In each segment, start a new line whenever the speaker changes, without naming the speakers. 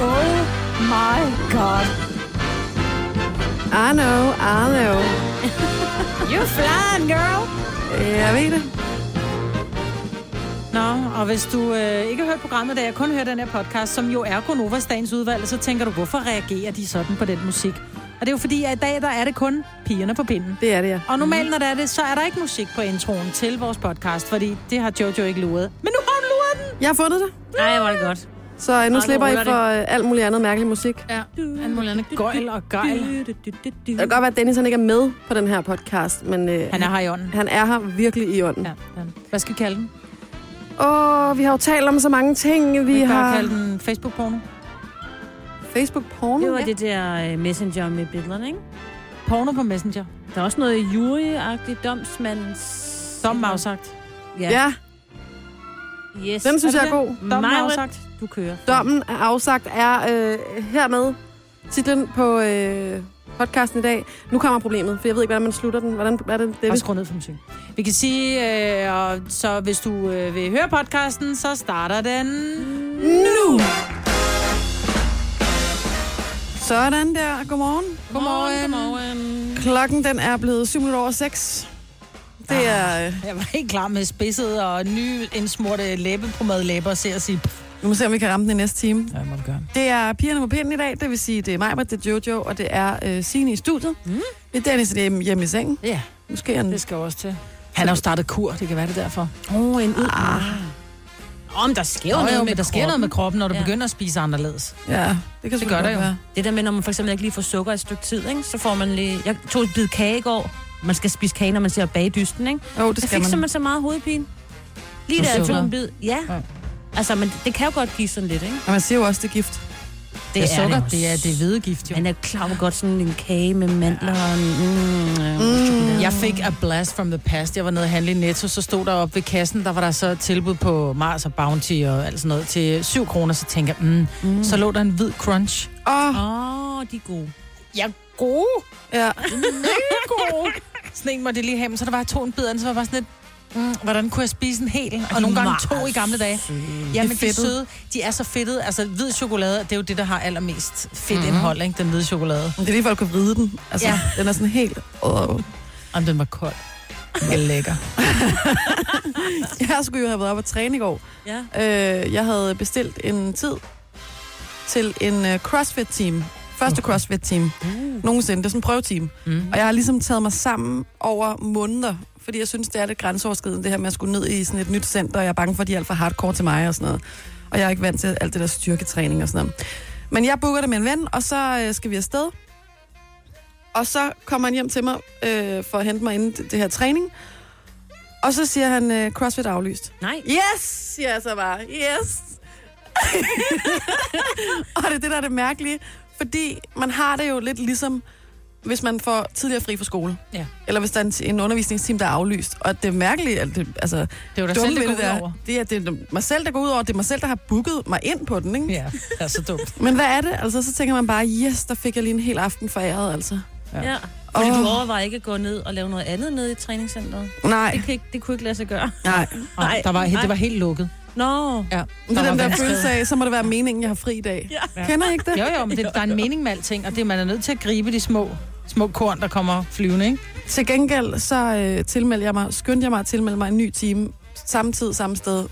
Oh my god.
Arno, Arno.
You flying, girl.
Jeg ved det.
Nå, og hvis du øh, ikke har hørt programmet, da jeg kun hører den her podcast, som jo er Konovas dagens udvalg, så tænker du, hvorfor reagerer de sådan på den musik? Og det er jo fordi, at i dag, der er det kun pigerne på pinden.
Det er det, ja.
Og normalt, når der er det, så er der ikke musik på introen til vores podcast, fordi det har Jojo ikke luret. Men nu har hun luret den!
Jeg har fundet det.
Nej, hvor er det godt.
Så øh, nu
Ej,
Ej,
nu
slipper I
ruller det.
for øh, alt muligt andet mærkelig musik.
Ja. Han må lade
Gøjl og gøjl.
Det kan godt være, at Dennis han ikke er med på den her podcast, men øh,
Han er her i ånden.
han er her virkelig i ånden. Ja.
Ja, den. Hvad skal vi kalde den?
Åh, vi har jo talt om så mange ting. Vi,
Vi kan bare
har
kalde den Facebook-porno.
Facebook-porno.
Det var det der øh, messenger med billederne, ikke?
Porno på Messenger.
Der er også noget juryagtigt domsmandens...
Dom afsagt.
Ja.
Ja,
Yes.
den synes
Er
jeg er
det
god.
Dom
Majbrit,
afsagt.
Du kører.
Dommen er afsagt er øh, hermed titlen på øh, podcasten i dag. Nu kommer problemet, for jeg ved ikke, hvordan man slutter den. Hvordan er det,
Og
Dennis?
skru ned for musikken. Vi kan sige, øh, og så hvis du øh, vil høre podcasten, så starter den...
Nu! Sådan der. Godmorgen.
Godmorgen.
Godmorgen.
Klokken den er blevet 7 minutter over 6. Det er... Øh,
Jeg var helt klar med spidset og ny indsmurte læbe på madlæber og se og sige... "Pff,
nu må vi se, om vi kan ramme den i næste time.
Ja, må du gøre.
Det er pigerne på pinden i dag. Det vil sige, det er mig, det er Jojo, og det er øh, Signe i studiet. Mm. Det er Dennis hjemme, hjemme i sengen.
Ja,
Måske han...
det skal også til. Han har jo startet kur, det kan være det er derfor.
Åh, oh, en ud. Ah. Om der sker
Jo,
noget
jo,
med
men der sker noget med kroppen, når du
Ja.
begynder at spise anderledes.
Ja, det kan selvfølgelig
gør det
godt
jo.
være.
Det der med, når man for eksempel ikke lige får sukker et stykke tid, ikke? så får man lige... Jeg tog et bid kage i går. Man skal spise kage, når man ser bagdysten, ikke?
Jo, det
Jeg
skal
fik
man.
simpelthen så meget hovedpine. Lige
Som
da jeg tog
sukker?
en bid. Ja.
Ja.
Altså, men det kan jo godt give sådan lidt, ikke?
Og man siger jo også, det er gift.
Det
Det er sukker, det, er det
ved.
hvide gift, jo.
Han er klar over godt sådan en kage med mandler og en, mm, øh, chokolade.
Jeg fik a blast from the past. Jeg var nede og handle i Netto, så stod der oppe ved kassen, der var der så et tilbud på Mars og Bounty og alt sådan noget til 7 kroner, så tænker jeg, mm, mm. så lå der en hvid crunch.
Åh, oh,
Åh, oh, de er gode.
Ja, gode,
ja.
gode. Sådan en måtte jeg lige have, men så der var jeg to en bid, af den, så var jeg bare sådan lidt, mm, hvordan kunne jeg spise en hel? Og nogle gange to i gamle dage. Ja, men de er
fedtet.
søde. De er så fedtede. Altså, hvid chokolade, det er jo det, der har allermest fedtindhold, ikke? Den hvide chokolade.
Det er lige for at kunne vride den. Altså, ja.
Ja.
den er sådan helt... Oh.
Om den var kold. Den var lækker.
Jeg skulle jo have været oppe og træne i går.
Ja.
Øh, jeg havde bestilt en tid til en øh, CrossFit-team. Første CrossFit-team nogensinde. Det er sådan en prøveteam.
Mm.
Og jeg har ligesom taget mig sammen over måneder, fordi jeg synes, det er lidt grænseoverskridende, det her med at skulle ned i sådan et nyt center, og jeg er bange for, at de er alt for hardcore til mig og sådan noget. Og jeg er ikke vant til alt det der styrketræning og sådan noget. Men jeg booker det med en ven, og så øh, skal vi afsted. Og så kommer han hjem til mig øh, for at hente mig inden det, det her træning. Og så siger han, øh, CrossFit er aflyst.
Nej.
Yes, siger jeg så bare. Yes. og det er det, der er det mærkelige. Fordi man har det jo lidt ligesom, hvis man får tidligere fri fra skole.
Ja.
Eller hvis der er en, en undervisningsteam, der er aflyst. Og det er mærkeligt, at det, altså,
Det var da
dumme
selv,
ved
det går ud
der,
over.
det er, det er mig selv, der går ud over. Det er mig selv, der har booket mig ind på den, ikke?
Ja, det er så dumt.
Men hvad er det? Altså, så tænker man bare, yes, der fik jeg lige en hel aften foræret, altså.
Ja. Fordi
Åh.
du overvejer ikke at gå ned og lave noget andet nede i træningscenteret.
Nej,
Det, kan ikke, det kunne ikke lade sig gøre.
nej.
Nej, der var,
nej.
det var helt lukket.
Nå.
Ja,
Det er
var
den der
vanskeligheder.
følelse af, så må det være meningen, jeg har fri i dag.
Ja.
Kender I ikke det?
Jo, jo, men det, der er en mening med alting, og det er, man er nødt til at gribe de små, små korn, der kommer flyvende, ikke?
Til gengæld så øh, tilmeldte jeg mig, skyndte jeg mig at tilmelde mig en ny time, samme tid, samme sted,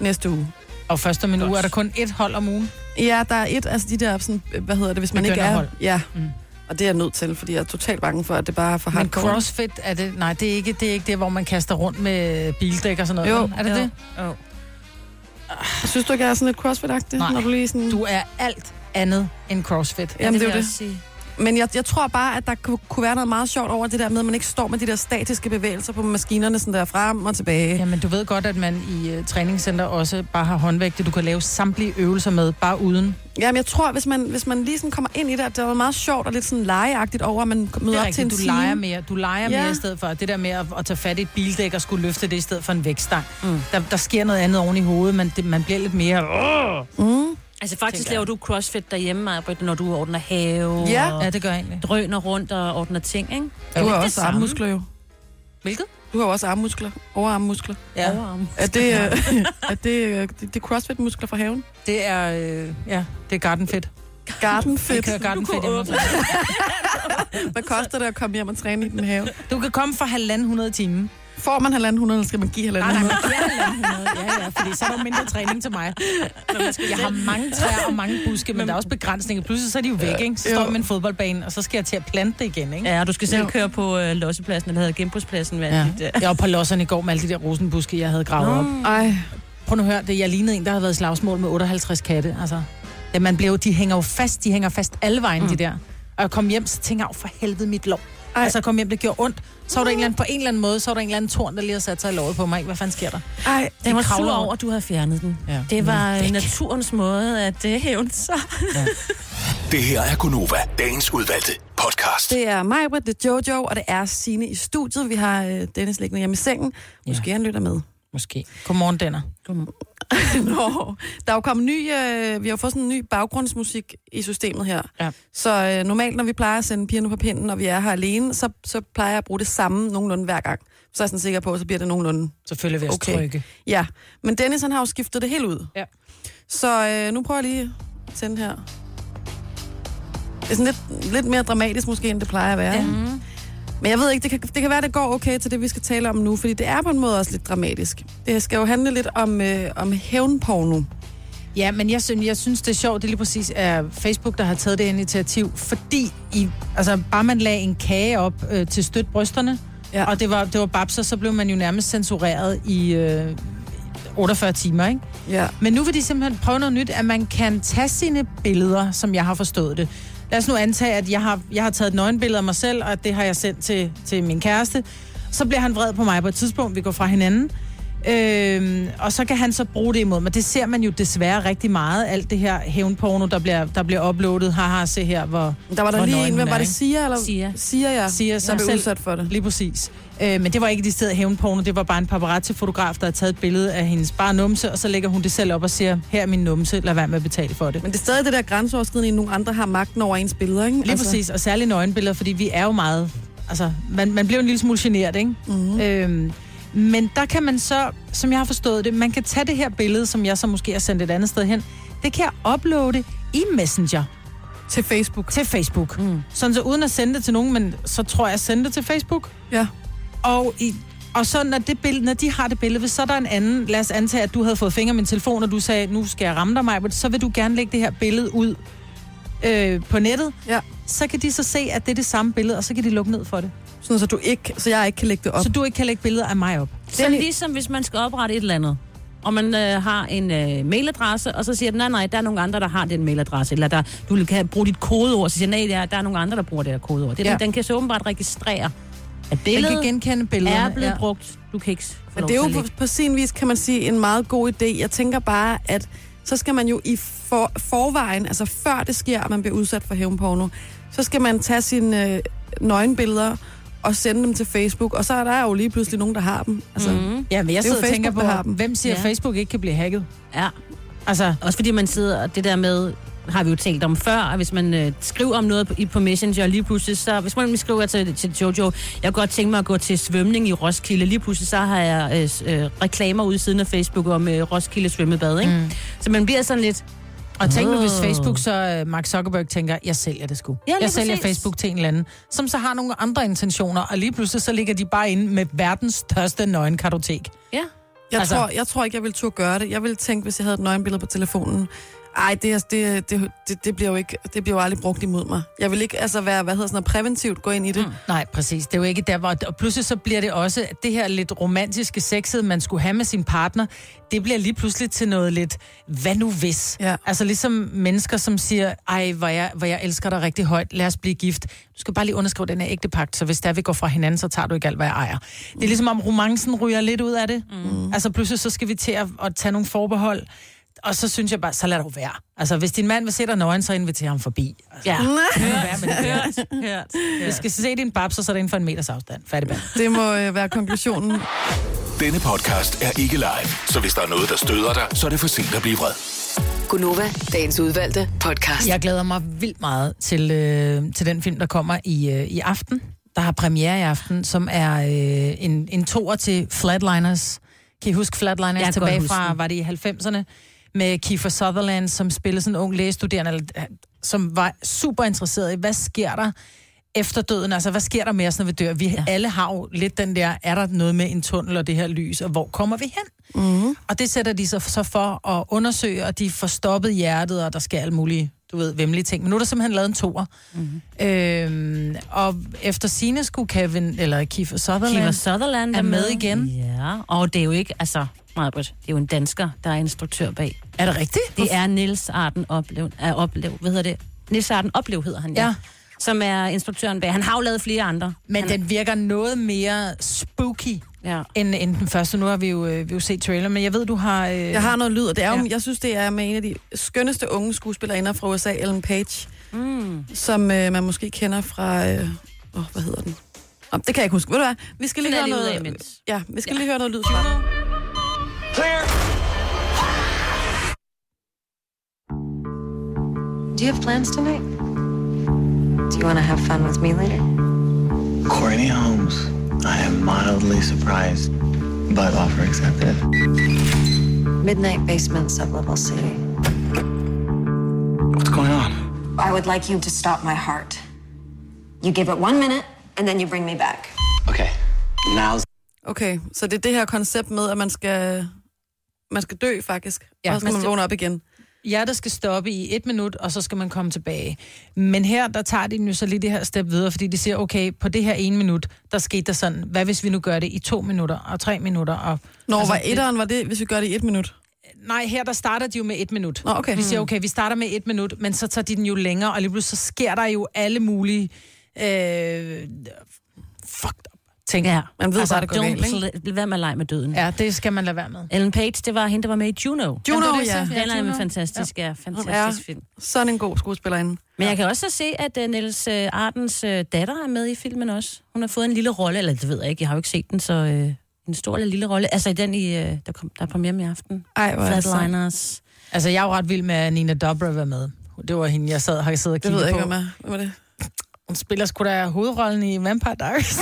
næste uge.
Og først om en
Godt.
uge er der kun et hold om ugen.
Ja, der er et, altså de der, sådan, øh, hvad hedder det, hvis man ikke er...
Begynderhold.
Ja,
Mm.
og det er jeg nødt til, fordi jeg er totalt bange for, at det bare er for
Men
hardcore.
CrossFit, er det, nej, det er ikke det, er ikke det hvor man kaster rundt med bildæk og sådan noget.
Jo.
vel? er det
Jo.
det?
Oh.
Synes du ikke, jeg er sådan lidt crossfit-agtig?
Nej.
Når du lige sådan...
Du er alt andet end CrossFit.
Jamen, det er jo
vil jeg
det.
også sige.
Men jeg, jeg tror bare, at der kunne, kunne være noget meget sjovt over det der med, at man ikke står med de der statiske bevægelser på maskinerne, sådan der frem og tilbage.
Jamen, du ved godt, at man i uh, træningscenter også bare har håndvægte, du kan lave samtlige øvelser med, bare uden.
Jamen, jeg tror, hvis man, hvis man lige sådan kommer ind i det, at det var meget sjovt og lidt sådan legeagtigt over, at man møder
Det
op
er
til en
rigtigt, du
time.
leger mere. Du leger
Ja.
mere i stedet for. Det der med at, at tage fat i et bildæk og skulle løfte det i stedet for en vægtstang. Mm. Der, der sker noget andet oven i hovedet, men det, man bliver lidt mere...
Mm.
Altså faktisk
Tænker jeg.
laver du crossfit derhjemme, Majbrit, når du ordner have
Ja.
og
Ja, det gør jeg egentlig.
drøner rundt og ordner ting, ikke?
Du
Er
har
det
også
samme?
armmuskler jo.
Hvilket?
Du har jo også armmuskler, overarmmuskler.
Ja.
Overarm.
Er det, øh, er det, øh, det, det er crossfit-muskler fra haven?
Det er, øh, ja, det er gardenfedt.
Garden
Jeg
fit.
kører garden fedt hjemme hos mig.
Hvad koster det at komme hjem og træne i den have?
Du kan komme for halvanden hundrede timer.
Får man halvanden hundrede, eller skal man give halvanden
Nej,
hundrede?
nej, men ja, halvanden hundrede. Ja, ja, fordi så er der mindre træning til mig. Jeg har mange træer og mange buske, men der er også begrænsninger. Pludselig så er de jo væk, ikke? Så står
Jo.
jeg med en fodboldbane, og så skal jeg til at plante det igen, ikke?
Ja, og du skal selv
Jo.
køre på øh, lossepladsen, eller hedder genbrugspladsen, hvad
Ja.
ja. dit, øh.
Jeg var på losserne i går med alle de der rosenbuske, jeg havde gravet op.
Ej,
Prøv nu at høre, det, jeg lignede en, der havde været i slagsmål med 58 katte. Altså, ja, man bliver jo, de hænger jo fast, de hænger fast alle vejen, mm. de der. Og jeg kom hjem, så tænkte jeg, "Åh, for helvede mit lov. Ej.
Ej.
Altså, jeg kom hjem, det gjorde ondt. Så var der en eller anden, på en eller anden måde, så var der en eller anden torn, der lige havde sat sig i låret på mig. Hvad fanden sker der?
ej.
Den var
kravler
sur
rundt.
over, at du havde fjernet den.
Ja. Mm.
Det var
Væk.
øh, naturens måde at øh, hævne sig.
Det her er Gunova, dagens udvalgte podcast.
Det er mig, Britt, det er Jojo, og det er Sine i studiet. Vi har øh, Dennis liggende hjemme i sengen. Måske han lytter med.
Måske. Godmorgen, Denner.
Nå, der er jo kommet ny, øh, vi har jo fået sådan en ny baggrundsmusik i systemet her.
Ja.
Så øh, normalt, når vi plejer at sende pigerne på pinden, når vi er her alene, så, så plejer jeg at bruge det samme nogenlunde hver gang. Så er jeg sådan sikker på, at så bliver det nogenlunde
Selvfølgelig vil jeg okay.
okay.
trykke.
Ja, men Dennis han har jo skiftet det helt ud.
Ja.
Så øh, nu prøver jeg lige at sende her. Det er sådan lidt, lidt mere dramatisk måske, end det plejer at være. Ja. Men jeg ved ikke, det kan, det kan være, det går okay til det, vi skal tale om nu, fordi det er på en måde også lidt dramatisk. Det skal jo handle lidt om, øh, om hævnporno.
Ja, men jeg synes, jeg synes, det er sjovt, det er lige præcis er Facebook, der har taget det initiativ, fordi I, altså, bare man lagde en kage op øh, til støt brysterne, ja.
Ja.
og det var, det var babser, så blev man jo nærmest censureret i øh, 48 timer, ikke?
Ja.
Men nu vil de simpelthen prøve noget nyt, at man kan tage sine billeder, som jeg har forstået det. Lad os nu antage, at jeg har, jeg har taget et nøgenbillede af mig selv, og det har jeg sendt til, til min kæreste. Så bliver han vred på mig på et tidspunkt, vi går fra hinanden. Øhm, og så kan han så bruge det imod mig. Det ser man jo desværre rigtig meget, alt det her hævnporno, der bliver, der bliver uploadet. Haha, se her, hvor...
Der var der
hvor
lige
nøgen
en, hvem
hun
var det,
er, ikke?
Sia? Eller?
Sia.
Sia, ja.
Sia, som
som blev
selv-
udsat for det.
Lige præcis. Øh, men det var ikke de steder hævnporno, det var bare en paparazzi-fotograf, der havde taget et billede af hendes bare numse, og så lægger hun det selv op og siger, her er min numse, lad være med at betale for det.
Men det er stadig det der grænseoverskridende, at nogle andre har magten over ens billeder, ikke?
Lige altså. præcis, og særligt nøgenbilleder, fordi vi er jo meget... Altså, man, man bliver jo en lille smule generet, ikke?
Mhm.
Mm-hmm. Øhm, men der kan man så, som jeg har forstået det, man kan tage det her billede, som jeg så måske har sendt et andet sted hen, det kan jeg uploade i Messenger
Til Facebook.
til Facebook. Mm. Sådan så uden at sende det til nogen, men så tror jeg, jeg sender det til Facebook.
Ja.
Og, i, og så når, det billede, når de har det billede, hvis så er der en anden, lad os antage, at du havde fået fingre i min telefon, og du sagde, nu skal jeg ramme dig, Majbert, så vil du gerne lægge det her billede ud øh, på nettet.
ja.
Så kan de så se, at det er det samme billede, og så kan de lukke ned for det.
Sådan, så, du ikke, så jeg ikke kan lægge det op.
Så du ikke kan lægge billeder af mig op.
Så ligesom hvis man skal oprette et eller andet, og man øh, har en øh, mailadresse, og så siger den, nej, nej, der er nogle andre, der har den mailadresse, eller der, du kan bruge dit kodeord, så siger den, nej, der er, der er nogle andre, der bruger det her kodeord. Det,
Ja.
ja. den, den kan så åbenbart registrere, at
Den
billedet
kan genkende billederne.
er blevet ja. brugt. Du kan ikke s- få
Men
lov
det er jo
til at
på,
lægge-
på sin vis, kan man sige, en meget god idé. Jeg tænker bare, at så skal man jo i for, forvejen, altså før det sker, at man bliver udsat for hævnporno, så skal man tage sine øh, nøgenbilleder og sende dem til Facebook, og så er der jo lige pludselig nogen, der har dem. Altså, mm.
Ja, men jeg
Det er jo
sidder og tænker
Facebook, der har
på,
dem.
hvem siger, at
Ja.
Facebook ikke kan blive hacket?
Ja.
Altså,
Også fordi man sidder, og det der med, har vi jo talt om før, at hvis man øh, skriver om noget på, i- på Messenger lige pludselig, så hvis man skriver til, til Jojo, jeg kunne godt tænke mig at gå til svømning i Roskilde, lige pludselig så har jeg øh, s- øh, reklamer ude i siden af Facebook om øh, Roskilde svømmebad, ikke? Mm. Så man bliver sådan lidt,
og tænk nu, hvis
Åh.
Facebook så uh, Mark Zuckerberg tænker, jeg sælger det sgu.
Ja, lige
jeg sælger
præcis.
Facebook til en eller anden, som så har nogle andre intentioner, og lige pludselig så ligger de bare inde med verdens største nøgenkartotek.
ja,
jeg,
altså-
altså. tror, jeg tror ikke, jeg ville turde gøre det. Jeg ville tænke, hvis jeg havde et nøgenbillede på telefonen, ej, det, er- det, det, det, det, bliver jo ikke, det bliver jo aldrig brugt imod mig. Jeg vil ikke altså være, hvad hedder sådan noget, præventivt gå ind i det. Mm.
Nej, præcis. Det er jo ikke der, hvor... Og pludselig så bliver det også, at det her lidt romantiske sexet, man skulle have med sin partner, det bliver lige pludselig til noget lidt, hvad nu hvis?
Ja.
Altså ligesom mennesker, som siger, ej, hvor jeg, hvor jeg elsker dig rigtig højt, lad os blive gift. Du skal bare lige underskrive den her ægte pagt, så hvis der vi går fra hinanden, så tager du ikke alt, hvad jeg ejer. Det er ligesom om romancen ryger lidt ud af det. Mm. Altså pludselig så skal vi til at, at tage nogle forbehold. Og så synes jeg bare, så lad dog være. Altså, hvis din mand vil se dig nøgen, så inviterer ham forbi. Altså,
ja.
lad være med det.
Hørt, hørt.
Vi skal se din babser, så er det inden for en meters afstand. Færdig band.
Det må øh, være konklusionen.
Denne podcast er ikke live, så hvis der er noget, der støder dig, så er det for sent at blive vred.
Gunova, dagens udvalgte podcast.
Jeg glæder mig vildt meget til, øh, til den film, der kommer i, øh, i aften. Der har premiere i aften, som er øh, en, en toer til Flatliners. Kan I huske Flatliners
Jeg
jeg
kan
tilbage
godt huske
fra,
den.
var det i 90'erne? Med Kiefer Sutherland, som spillede sådan en ung lægestuderende, eller øh, som var super interesseret i, hvad sker der efter døden? Altså, hvad sker der med os, når vi dør? Vi ja. alle har jo lidt den der, er der noget med en tunnel og det her lys, og hvor kommer vi hen? Mm. Og det sætter de sig så for at undersøge, og de får stoppet hjertet, og der skal alle mulige, du ved, vemmelige ting. Men nu er der simpelthen lavet en toer. Mm. Øhm, og efter sine skulle Kevin, eller Kiefer Sutherland,
Kiefer Sutherland
er med igen.
Ja, og det er jo ikke, altså, Marbert, det er jo en dansker, der er instruktør bag.
er det rigtigt?
Det er Nils Arden Oplev, er oplev hvad hedder det? Nils Arden Oplev hedder han, ja.
Ja.
ja. Som er instruktøren bag. Han har jo lavet flere andre.
Men den virker noget mere spooky
Ja.
end, end den første. Nu har vi jo, øh, vi har jo set trailer, men jeg ved, du har... Øh,
Jeg har noget lyd, og det er jo,
Ja.
ja. jeg synes, det er med en af de skønneste unge skuespillerinder fra USA, Ellen Page, mm. som øh, man måske kender fra... Øh, åh, hvad hedder den? Oh, det kan jeg ikke huske. Ved du hvad? Vi skal lige
Finder
høre
lige ud af
noget...
imens.
ja, vi skal ja. lige høre noget lyd fra den.
Do you have plans tonight? Do you want to have fun with me later?
Courtney Holmes. I am mildly surprised, but offer accepted.
Midnight basement, sublevel C.
What's going on?
I would like you to stop my heart. You give it one minute, and then you bring me back.
Okay, now's
Okay, så det er det her koncept med, at man skal, man skal dø faktisk,
Ja,
ja, og så
man
skal man
skal-
vågne op igen.
Hjertet skal stoppe i et minut, og så skal man komme tilbage. Men her, der tager de den jo så lige det her step videre, fordi de siger, okay, på det her ene minut, der skete der sådan. Hvad hvis vi nu gør det i to minutter og tre minutter? Og,
Når altså, var
det-
etteren, var det, hvis vi gør det i et minut?
Nej, her der starter de jo med et minut.
Nå, okay. Mm.
De siger, okay, vi starter med et minut, men så tager de den jo længere, og lige pludselig så sker der jo alle mulige... Øh, fucked up ting.
Ja. Altså,
Man ved bare, det går galt, ikke?
Don't være med at lege med døden. Ja.
Ja, det skal man lade være med.
Ellen Page, det var hende, der var med i Juno.
Juno,
Jamen, det er det,
ja.
jeg siger.
Den er
Juno.
en fantastisk, ja,
Hun er
fantastisk film.
sådan en god skuespillerinde.
Men jeg kan også så se, at uh, Niels uh, Ardens uh, datter er med i filmen også. Hun har fået en lille rolle, eller det ved jeg ikke, jeg har jo ikke set den, så uh, en stor eller lille rolle. Altså i den, i, uh, der, kom, der er premiere i aften.
Ej, hvor er det sejt.
Flatliners.
Altså, jeg er jo ret vild med, at Nina Dobra var med. Det var hende, jeg sad, har siddet og
Det
kigget
ved jeg
på.
ikke, om jeg... Hvad var det?
Hun spiller sgu da hovedrollen i Vampire Diaries.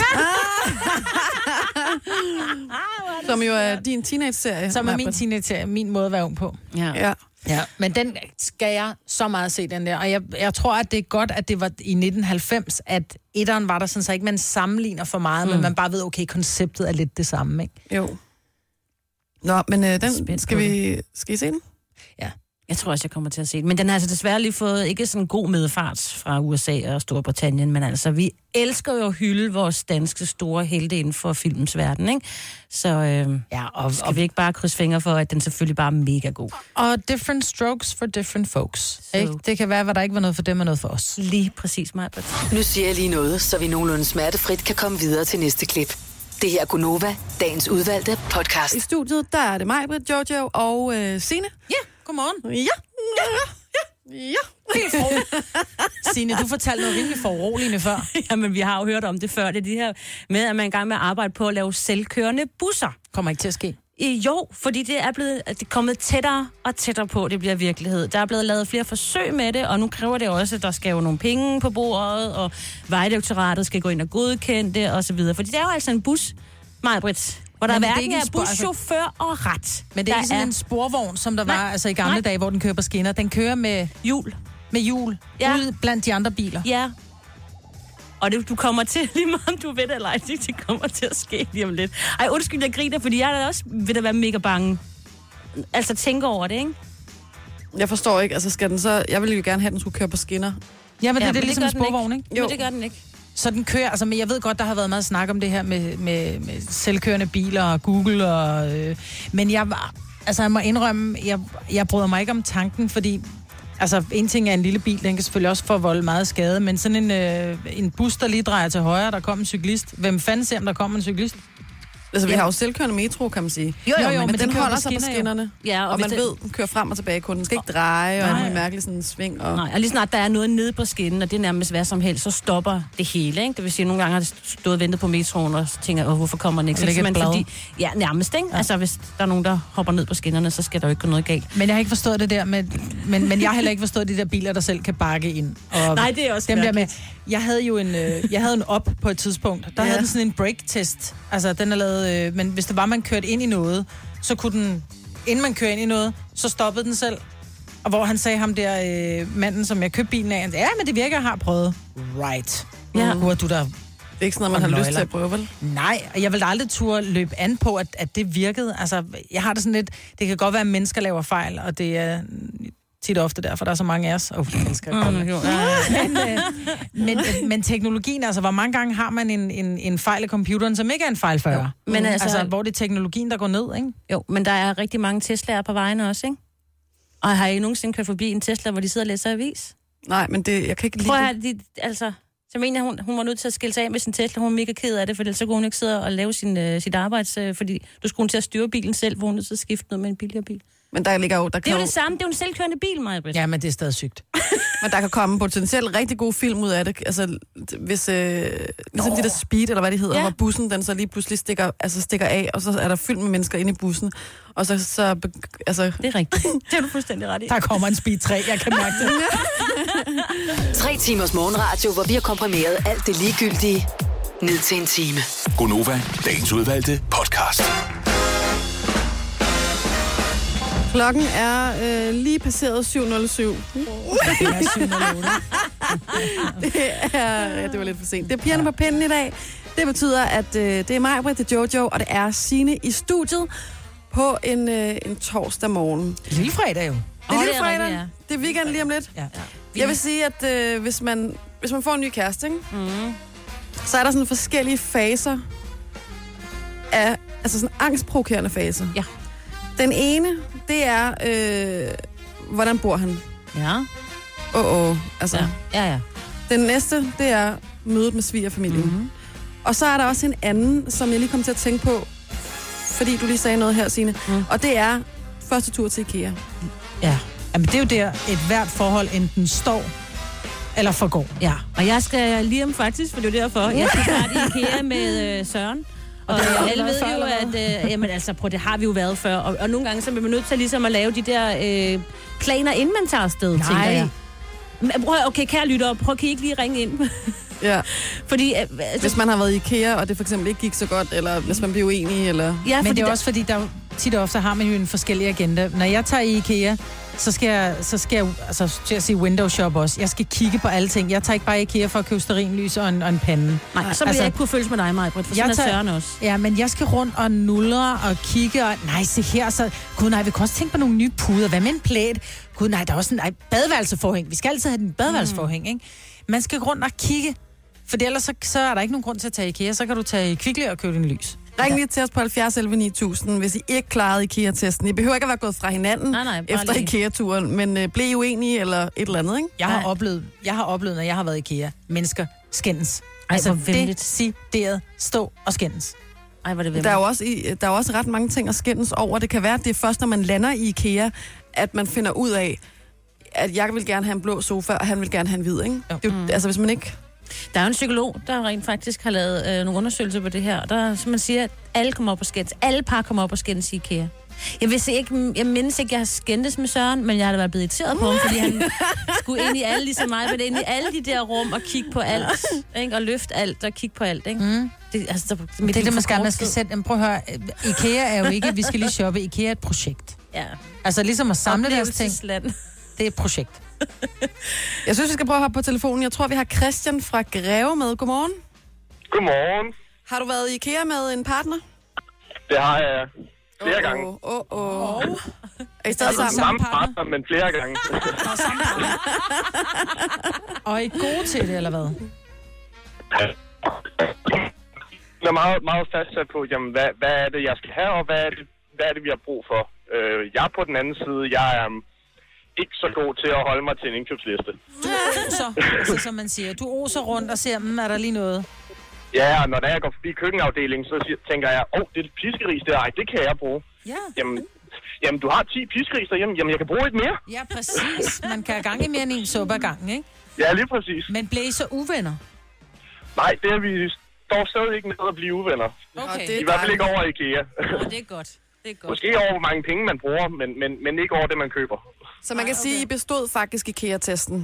Som jo er din teenage-serie.
Som er min
Marbet.
teenager, min måde at være ung på.
Ja.
Ja.
Ja. Men den skal jeg så meget se, den der. Og jeg, jeg tror, at det er godt, at det var i 1990, at etteren var der sådan, så ikke man sammenligner for meget, mm. men man bare ved, okay, konceptet er lidt det samme, ikke?
Jo. Nå, men øh, den
Spændt
skal
på
vi... Skal I se den?
Jeg tror også, jeg kommer til at se den. Men den har altså desværre lige fået ikke sådan god medfart fra USA og Storbritannien, men altså, vi elsker jo at hylde vores danske store helte inden for filmens verden, ikke? Så øh,
Ja, og, og,
skal vi ikke bare krydse fingre for, at den selvfølgelig bare er mega god.
og different strokes for different folks. Ikke? Det kan være, hvad der ikke var noget for dem, og noget for os.
Lige præcis mig.
Nu siger jeg lige noget, så vi nogenlunde smertefrit kan komme videre til næste klip. Det her er Gunova, dagens udvalgte podcast.
I studiet, der er det mig, Britt, Jojo og øh, Signe.
Ja, godmorgen.
Ja. Ja. Ja. ja.
Signe, du fortalte noget rimelig foruroligende før.
Jamen, vi har jo hørt om det før, det er de her med, at man er i gang med at arbejde på at lave selvkørende busser.
Kommer ikke til at ske.
I- Jo, fordi det er blevet det er kommet tættere og tættere på, det bliver virkelighed. Der er blevet lavet flere forsøg med det, og nu kræver det også, at der skal jo nogle penge på bordet, og vejdirektoratet skal gå ind og godkende det, og så videre. Fordi det er jo altså en bus, Majbrit, hvor der
Men det er
hverken
ikke
er
en spor-
buschauffør og ret.
Men det er
der
ikke sådan en sporvogn, som der var
Nej,
altså i gamle
nej.
dage, hvor den kører på skinner. Den kører med,
jul.
med hjul ja.
Ja.
ud blandt de andre biler.
Ja. Og det, du kommer til, lige meget om du ved det eller ej, det, det kommer til at ske lige om lidt. Ej, undskyld, jeg griner, fordi jeg er da også ved at være mega bange. Altså, tænke over det, ikke?
Jeg forstår ikke, altså skal den så... Jeg ville jo gerne have, at den skulle køre på skinner.
Ja, men ja, det,
men
det er
det
ligesom
gør
en
den ikke.
sporvogn, ikke?
Jo. Men det gør den ikke.
Så den kører, altså, men jeg ved godt, der har været meget snak om det her med, med, med selvkørende biler og Google, og, øh, men jeg, var- altså, jeg må indrømme, jeg, jeg bryder mig ikke om tanken, fordi altså, en ting er en lille bil, den kan selvfølgelig også forvolde meget skade, men sådan en, øh, en bus, der lige drejer til højre, der kommer en cyklist. Hvem fanden ser, om der kommer en cyklist?
Altså, vi har jo selvkørende metro, kan man sige.
Jo, jo, men
men,
den
den,
kører
holder
på
sig på
skinner, jo.
skinnerne.
Ja, og
og, og
hvis
man
det-
ved, den kører frem og tilbage kun. Den skal ikke dreje, og
Nej.
en mærkelig sådan sving. Og...
Nej, og lige snart der er noget nede på skinnen, og det er nærmest hvad som helst, så stopper det hele, ikke? Det vil sige, at nogle gange har det stået og ventet på metroen, og så tænker jeg, "Åh, hvorfor kommer den ikke? Så
Og lægger et
simpelthen
blad.
ja, nærmest, ikke? Ja. Altså, hvis der er nogen, der hopper ned på skinnerne, så skal der jo ikke gå noget galt.
Men jeg har ikke forstået det der med, men, men jeg har heller ikke forstået de der biler, der selv kan bakke ind. Og
Nej, det er også
dem der med, Jeg havde jo en, øh, jeg havde en op på et tidspunkt. Der ja. havde den sådan en brake-test. Altså, den er lavet, øh, men hvis det var, man kørte ind i noget, så kunne den, inden man kører ind i noget, så stoppede den selv. Og hvor han sagde ham der, øh, manden, som jeg købte bilen af, han sagde, ja, men det virker, jeg har prøvet. Right.
Ja.
Ja. Hvor du der
Det er ikke sådan noget, man
Og
har lyst til
nøgler.
at prøve, vel?
Nej, og jeg vil da aldrig turde løbe an på, at, at det virkede. Altså, jeg har det sådan lidt... Det kan godt være, at mennesker laver fejl, og det er tit og ofte derfor, der er så mange af os. Oh, mennesker er
Mm,
kommet.
jo, ja, ja.
men, øh, men, øh, men teknologien, altså hvor mange gange har man en, en, en fejl i computeren, som ikke er en fejl før?
Jo, men
Mm.
altså-
altså, hvor det er teknologien, der går ned, ikke?
Jo, men der er rigtig mange Tesla'er på vejene også, ikke? Og har I nogensinde kørt forbi en Tesla, hvor de sidder og læser avis?
Nej, men det, jeg kan ikke lide
Prøv at
det.
høre, de, altså, som en, hun, hun var nødt til at skille sig af med sin Tesla, hun er mega ked af det, for ellers så kunne hun ikke sidde og lave sin, øh, sit arbejde, øh, fordi du skulle hun til at styre bilen selv, hvor hun er nødt til at skifte noget med en billigere bil.
Men der, ligger jo, der
Det
kan
er jo
jo,
det samme, det er jo en selvkørende bil, Maja Britt. Ja.
Ja, men det er stadig sygt.
men der kan komme potentielt rigtig gode film ud af det. Altså, hvis, øh, ligesom de der speed, eller hvad det hedder,
Ja.
ja. hvor bussen den så lige pludselig stikker, altså stikker af, og så er der fyldt med mennesker inde i bussen. Og så, så beg- altså,
Det er rigtigt. det har du fuldstændig ret i.
Der kommer en speed 3, jeg kan mærke det.
Tre timers morgenradio, hvor vi har komprimeret alt det ligegyldige ned til en time.
Gonova, dagens udvalgte podcast.
klokken er øh, lige passeret 7.07.
Jeg er syg med lortet.
ja, det var lidt for sent. Det er pigerne på pinden i dag. Det betyder, at øh, det er mig, Britt, det er Jojo, og det er Sine i studiet på en, øh, en torsdag morgen. Det
Lille fredag jo.
er
Åh,
lille
det er
fredag.
rigtigt, ja.
Det er weekend lige om lidt.
Ja.
Jeg vil sige, at øh, hvis, man, hvis man får en ny kæreste, ikke? Mm.
Mm-hmm.
så er der sådan forskellige faser af, altså sådan angstprovokerende faser.
Ja.
Den ene, det er, øh, hvordan bor han?
Ja,
Åh, oh, oh. altså.
ja,
Ja.
ja. ja.
Den næste, det er mødet med svigerfamilien.
Mhm.
Mm-hmm. Og så er der også en anden, som jeg lige kom til at tænke på, fordi du lige sagde noget her, Signe.
Mhm.
Mm. Og det er første tur til IKEA.
ja. Jamen, det er jo der, et hvert forhold enten står eller forgår.
Ja, og jeg skal lige om faktisk, for det er jo derfor, jeg skal starte i IKEA med øh, Søren. Og, og alle ved jo, at øh, jamen, altså, prøv, det har vi jo været før. Og, og nogle gange så bliver man nødt til ligesom at lave de der øh, planer, inden man tager afsted, tænker jeg. Men Prøv, at- okay, kære lytter, prøv, kan I ikke lige ringe ind?
Ja.
Fordi, øh, altså,
Hvis man har været i IKEA, og det for eksempel ikke gik så godt, eller hvis man blev uenig, eller...
ja,
Men det er
der-
også fordi, der jo tit og ofte har man jo en forskellig agenda. Når jeg tager i IKEA, så skal jeg, så skal jeg altså, til at sige window shop også. Jeg skal kigge på alle ting. Jeg tager ikke bare i IKEA for at købe sterinlys og en, og en pande.
Nej, så vil altså,
altså-
jeg ikke kunne følges med dig, Majbrit, for sådan
Jeg
er
tager-
Søren også.
Ja, men jeg skal rundt og nulre og kigge, og nej, se her, så... Gud, nej, vi kan også tænke på nogle nye puder. Hvad med en plæt? Gud, nej, der er også en nej, badeværelseforhæng. Vi skal altid have den badeværelseforhæng, mm. ikke? Man skal rundt og kigge, for ellers så, så er der ikke nogen grund til at tage i IKEA. Så kan du tage i Kvickly og købe en lys.
Ring lige til os på 70 11 9000, hvis I ikke klarede IKEA-testen. I behøver ikke at være gået fra hinanden
Nej, nej, bare
efter
lige.
IKEA-turen, men øh, blev I uenige eller et eller andet, ikke?
Jeg har,
Nej.
oplevet, jeg har oplevet, når jeg har været i IKEA, mennesker skændes.
hvor
Altså,
venligt.
decideret stå og skændes.
Ej, hvor er det ved
Der er, jo også, i- der er jo også ret mange ting at skændes over. Det kan være, at det er først, når man lander i IKEA, at man finder ud af, at jeg vil gerne have en blå sofa, og han vil gerne have en hvid, ikke?
Jo.
Det er Jo. Mm. Altså, hvis man ikke...
Der er jo en psykolog, der rent faktisk har lavet øh, nogle undersøgelser på det her, og der som man siger, at alle kommer op og skændes. Alle par kommer op og skændes i IKEA. Jeg, vil se ikke, jeg mindes ikke, jeg har skændtes med Søren, men jeg har da været blevet irriteret på ham, fordi han skulle ind i alle, ligesom mig, men ind i alle de der rum og kigge på alt, ikke? og løfte alt og kigge på alt. Ikke? Mm. Det, altså, der,
Men det er det, man skal, man skal
tid.
sætte... Jamen, prøv at høre, IKEA er jo ikke, vi skal lige shoppe. IKEA er et projekt.
Ja.
Altså ligesom at samle deres ting,
Oplevelsesland.
det er et projekt.
Jeg synes, vi skal prøve at hoppe på telefonen. Jeg tror, vi har Christian fra Greve med. Godmorgen.
Godmorgen.
Har du været i IKEA med en partner?
Det har jeg flere gange.
Åh, åh, åh. Er I stadig
Altså,
sammen?
samme partner, men flere gange.
Og er I gode til det, eller hvad?
Jeg er meget, meget fastsat på, jamen, hvad, hvad er det, jeg skal have, og hvad er det, hvad er det vi har brug for. Øh, jeg er på den anden side. Jeg er um, ikke så god til at holde mig til en indkøbsliste.
Du oser, altså, som man siger. Du oser rundt og ser, mm, er der lige noget?
Ja, og når der jeg går forbi køkkenafdelingen, så siger, tænker jeg, åh, oh, det er et piskeris der. Ej, det kan jeg bruge.
Ja.
Jamen, jamen du har 10 piskeris derhjemme. Jamen, jeg kan bruge et mere.
Ja, præcis. Man kan have gang i mere end en suppe ad gangen, ikke?
Ja, lige præcis.
Men blev I så uvenner?
Nej, det er vi står stadig ikke ned og blive uvenner.
Okay.
I hvert fald ikke over IKEA.
Og det er godt. Det er godt.
Måske over, hvor mange penge man bruger, men, men, men ikke over det, man køber.
Så man kan sige, at I bestod faktisk IKEA-testen.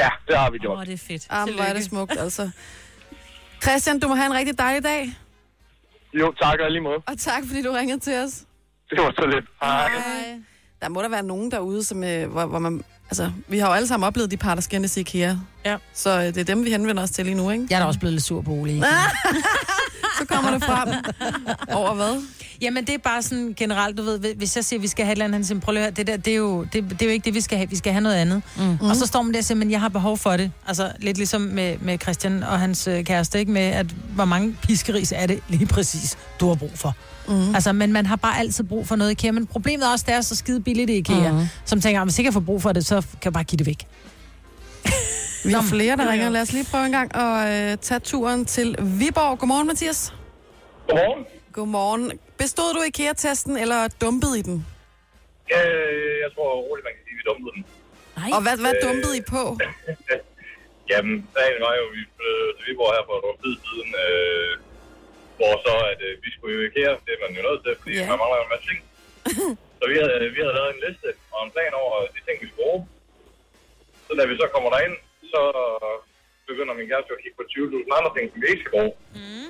Ja, det har vi
Åh,
gjort.
det er fedt.
Ah, hvor er det
Tillykke.
smukt, altså. Christian, du må have en rigtig dejlig dag,
Jo, tak og i lige måde.
og tak fordi du ringede til os.
Det var så lidt. Hej.
Hej. der må der være nogen derude, som, øh, hvor, hvor man... Altså, vi har jo alle sammen oplevet de par, der skændes i IKEA.
Ja.
Så øh, det er dem, vi henvender os til lige nu, ikke?
Jeg er da også blevet lidt sur på Ole.
Så kommer det frem. Over hvad?
Jamen, det er bare sådan generelt, du ved, hvis jeg siger, at vi skal have et eller andet, han siger, prøv lige at høre, det der, det er, jo, det, det er jo ikke det, vi skal have, vi skal have noget andet. Mm. Og så står man der og siger, men jeg har behov for det. Altså, lidt ligesom med, med Christian og hans øh, kæreste, ikke? Med, at hvor mange piskeris er det lige præcis, du har brug for. Mm. Altså, men man har bare altid brug for noget i IKEA. Men problemet er også, det er så skide billigt i IKEA, mm. som tænker, "Ah, hvis ikke jeg får brug for det, så kan jeg bare give det væk.
Vi har flere, der ringer. Lad os lige prøve en gang at øh, tage turen til Viborg. Godmorgen, Mathias.
Godmorgen.
Godmorgen. Bestod du IKEA-testen, eller dumpede i den?
Øh, jeg tror roligt, man kan sige, at vi dumpede den.
Nej.
Og hvad, hvad dumpede I på?
Jamen, sagen var jo, at vi flyttede til Viborg her for et års tid siden, øh, hvor så, at øh, vi skulle jo IKEA, det er man jo nødt til, fordi
Ja.
yeah. man mangler jo en masse ting. så vi havde, vi havde lavet en liste og en plan over de ting, vi skulle bruge. Så da vi så kommer derind, så begynder min kæreste jo at kigge på 20.000 andre ting, som vi ikke skal bruge. Mm.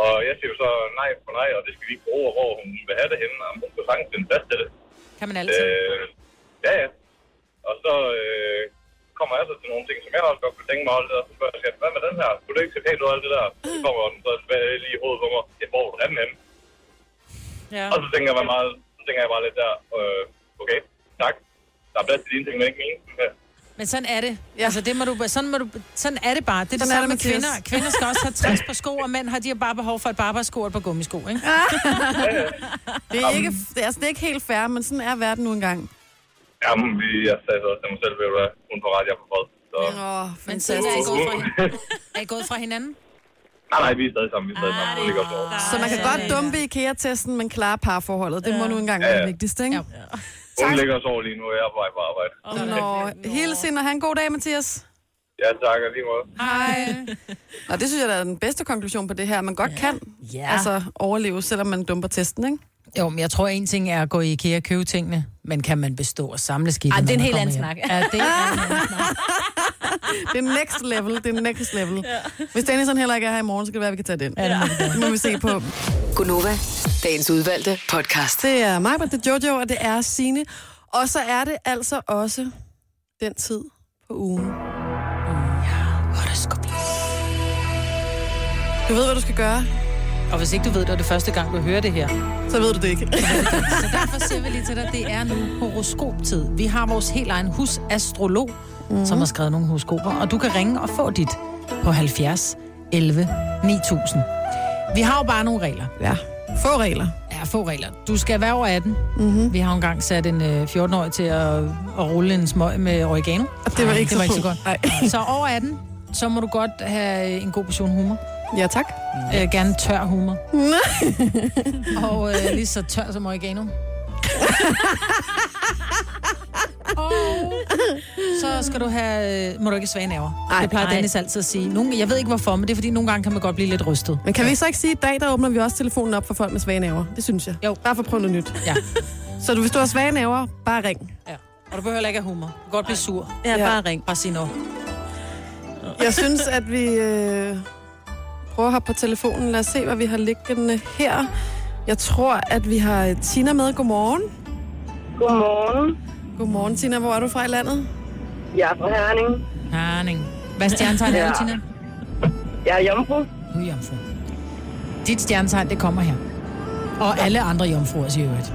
Og jeg siger jo så nej på nej, og det skal vi ikke bruge, og hvor hun vil have det henne, og hun kunne sagtens finde fast til det.
Kan man altid.
Øh, ja, ja. Og så øh, kommer jeg så til nogle ting, som jeg også godt kunne tænke mig at holde der. Så spørger jeg, skat, hvad med den her? Kunne du ikke se pænt ud af alt det der? Så kommer den så tilbage lige i hovedet på mig. Jeg hvor den anden henne.
Ja.
Og så tænker jeg bare, meget, så tænker jeg bare lidt der, øh, okay, tak. Der er plads til dine ting, men ikke mine. Ja.
Men sådan er det.
Ja.
Ja. Altså, det må du, sådan, må du, sådan er det bare. Det er det
Sådan er
samme med
det, Mathias.
kvinder. Kvinder skal også have 60 par sko, og mænd har de har bare behov for et barbersko og et par gummisko, ikke?
Det er, ikke, det, er, altså, det er ikke helt fair, men sådan er verden nu engang.
Jamen, vi, jeg sagde så til mig selv, ved du hvad, hun får ret, jeg får fred. Så,
Åh, oh,
Men så er I
fantastisk.
gået fra, er I gået fra hinanden?
nej, nej, vi er stadig sammen, vi er stadig sammen. Det er godt over.
Så man kan
Ej.
godt dumpe IKEA-testen, men klare parforholdet. Det må nu engang
Ja,
være
ja.
det vigtigste, ikke?
Ja.
Hun ligger og sover lige nu, og jeg er på vej på arbejde.
Nå, hilsen og have en god dag, Mathias.
Ja, tak, og lige måde.
Hej. Nå, det synes jeg, der er den bedste konklusion på det her. Man godt kan
Ja.
altså, overleve, selvom man dumper testen, ikke?
Jo, men jeg tror, en ting er at gå i IKEA og købe tingene, men kan man bestå og samle skidt?
Ej, det er en helt anden snak.
Ja, det er en anden snak.
Det er next level, det er next level. Hvis Dennison heller ikke er her i morgen, så kan det være, at vi kan tage den. Ja. Det må vi se på.
Gunova, dagens udvalgte podcast.
Det er mig, det er Jojo, og det er Sine. Og så er det altså også den tid på ugen. Du ved, hvad du skal gøre,
Og hvis ikke du ved, det var det første gang, du hører det her,
så ved du det ikke.
Så derfor siger vi lige til dig, det er nu horoskoptid. Vi har vores helt egen husastrolog, mm. som har skrevet nogle horoskoper, og du kan ringe og få dit på 70 11 9000. Vi har jo bare nogle regler.
Ja. Få regler.
Ja, få regler. Du skal være over 18.
Mhm.
Mm-hmm. Vi har jo engang sat en øh, 14-årig til at, at rulle en smøg med oregano.
Og det var ikke,
det var ikke
så
så godt.
Nej.
Så over 18, så må du godt have øh, en god portion humor.
Ja, tak.
Øh, gerne tør humor. og øh, lige så tør som oregano. og så skal du have... øh, Må du ikke have svage nerver.
Ej,
det plejer
nej.
Dennis altid at sige. Nogle, jeg ved ikke hvorfor, men det er fordi, nogle gange kan man godt blive lidt rystet.
Men kan vi så ikke sige, at i dag der åbner vi også telefonen op for folk med svage naver? Det synes jeg.
Jo.
Bare for at prøve noget nyt.
Ja.
Så du, hvis du har svage naver, bare ring.
ja. Og du behøver heller ikke have humor. Du kan godt blive sur.
Ja,
Ja.
bare ring.
Bare sige noget.
Jeg synes, at vi øh, prøver at hoppe på telefonen. Lad os se, hvad vi har liggende her. Jeg tror, at vi har øh, Tina med. Godmorgen.
Godmorgen.
Godmorgen, Tina. Hvor er du fra i landet?
Jeg er fra Herning.
Herning. Hvad stjernetegn er
Ja.
du, Tina?
Jeg er jomfru.
Du er jomfru. Dit stjernetegn, det kommer her. Og alle andre jomfruer, siger øvrigt.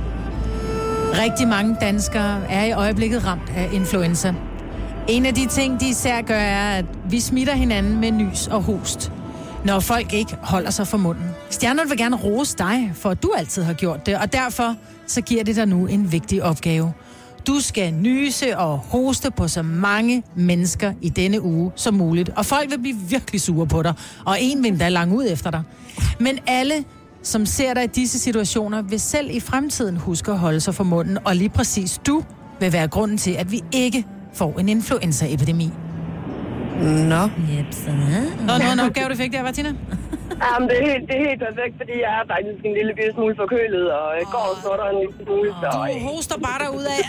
Rigtig mange danskere er i øjeblikket ramt af influenza. En af de ting, de især gør, er, at vi smitter hinanden med nys og host, når folk ikke holder sig for munden. Stjernerne vil gerne rose dig, for at du altid har gjort det, og derfor så giver det dig nu en vigtig opgave. Du skal nyse og hoste på så mange mennesker i denne uge som muligt, og folk vil blive virkelig sure på dig, og en vil endda langt ud efter dig. Men alle, som ser dig i disse situationer, vil selv i fremtiden huske at holde sig for munden, og lige præcis du vil være grunden til, at vi ikke får en influenzaepidemi.
Nå.
Yep, så.
Nå, nå, en opgave, du fik der, var Tina?
Jamen, det er, helt, det er helt perfekt, fordi jeg er faktisk en lille bitte smule forkølet, og jeg går og snutter en lille smule. Så,
Du hoster bare dig ud af.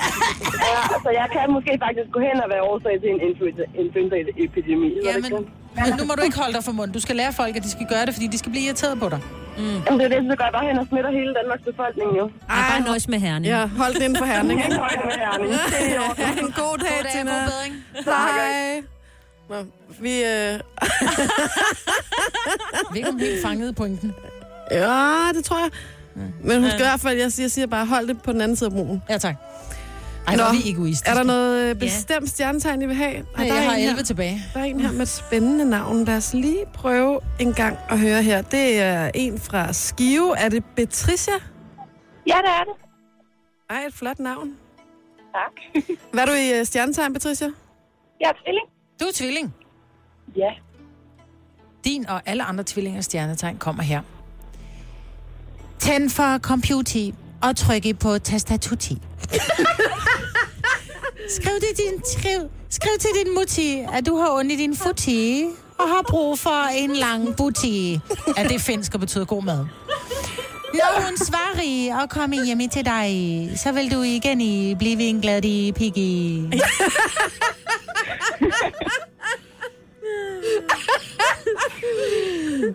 ja, så jeg kan måske faktisk gå hen og være årsag til en influenza- influenzaepidemi.
Jamen, men nu må du ikke holde dig for munden. Du skal lære folk, at de skal gøre det, fordi de skal blive irriteret på dig.
Mm. Jamen, det er det, så går jeg bare hen og smitter hele Danmarks befolkning jo.
Ej, bare nøjes med herning.
Ja, hold den inden for herning, ikke?
Nøjes med herning.
Det er i orden. Ha' en god dag, Tina. Hej. Nå, vi... Øh...
Jeg ved ikke, om vi helt fangede pointen.
Ja, det tror jeg. Men husk i hvert fald, jeg siger, jeg siger bare, hold det på den anden side af broen.
Ja, tak. Ej, hvor er vi egoistiske.
er der noget øh, bestemt stjernetegn, I vil have? Ej,
Nej,
der er
jeg har
en her.
11 tilbage.
Der er en her med et spændende navn. Lad os lige prøve en gang at høre her. Det er en fra Skive. Er det Betricia?
Ja, det er det.
Ej, et flot navn.
Tak.
Hvad er du i øh, stjernetegn, Patricia?
Jeg er tvilling.
Du er tvilling.
Ja.
Din og alle andre tvillingers stjernetegn kommer her. Tænd for computer og tryk I på tastatuti. skriv, til din, skriv, skriv til din mutti, at du har ondt i din futti og har brug for en lang butti. At det er finsk og betyder god mad. Når hun svarer i og kommer hjem til dig, så vil du igen i blive en glad i piggy.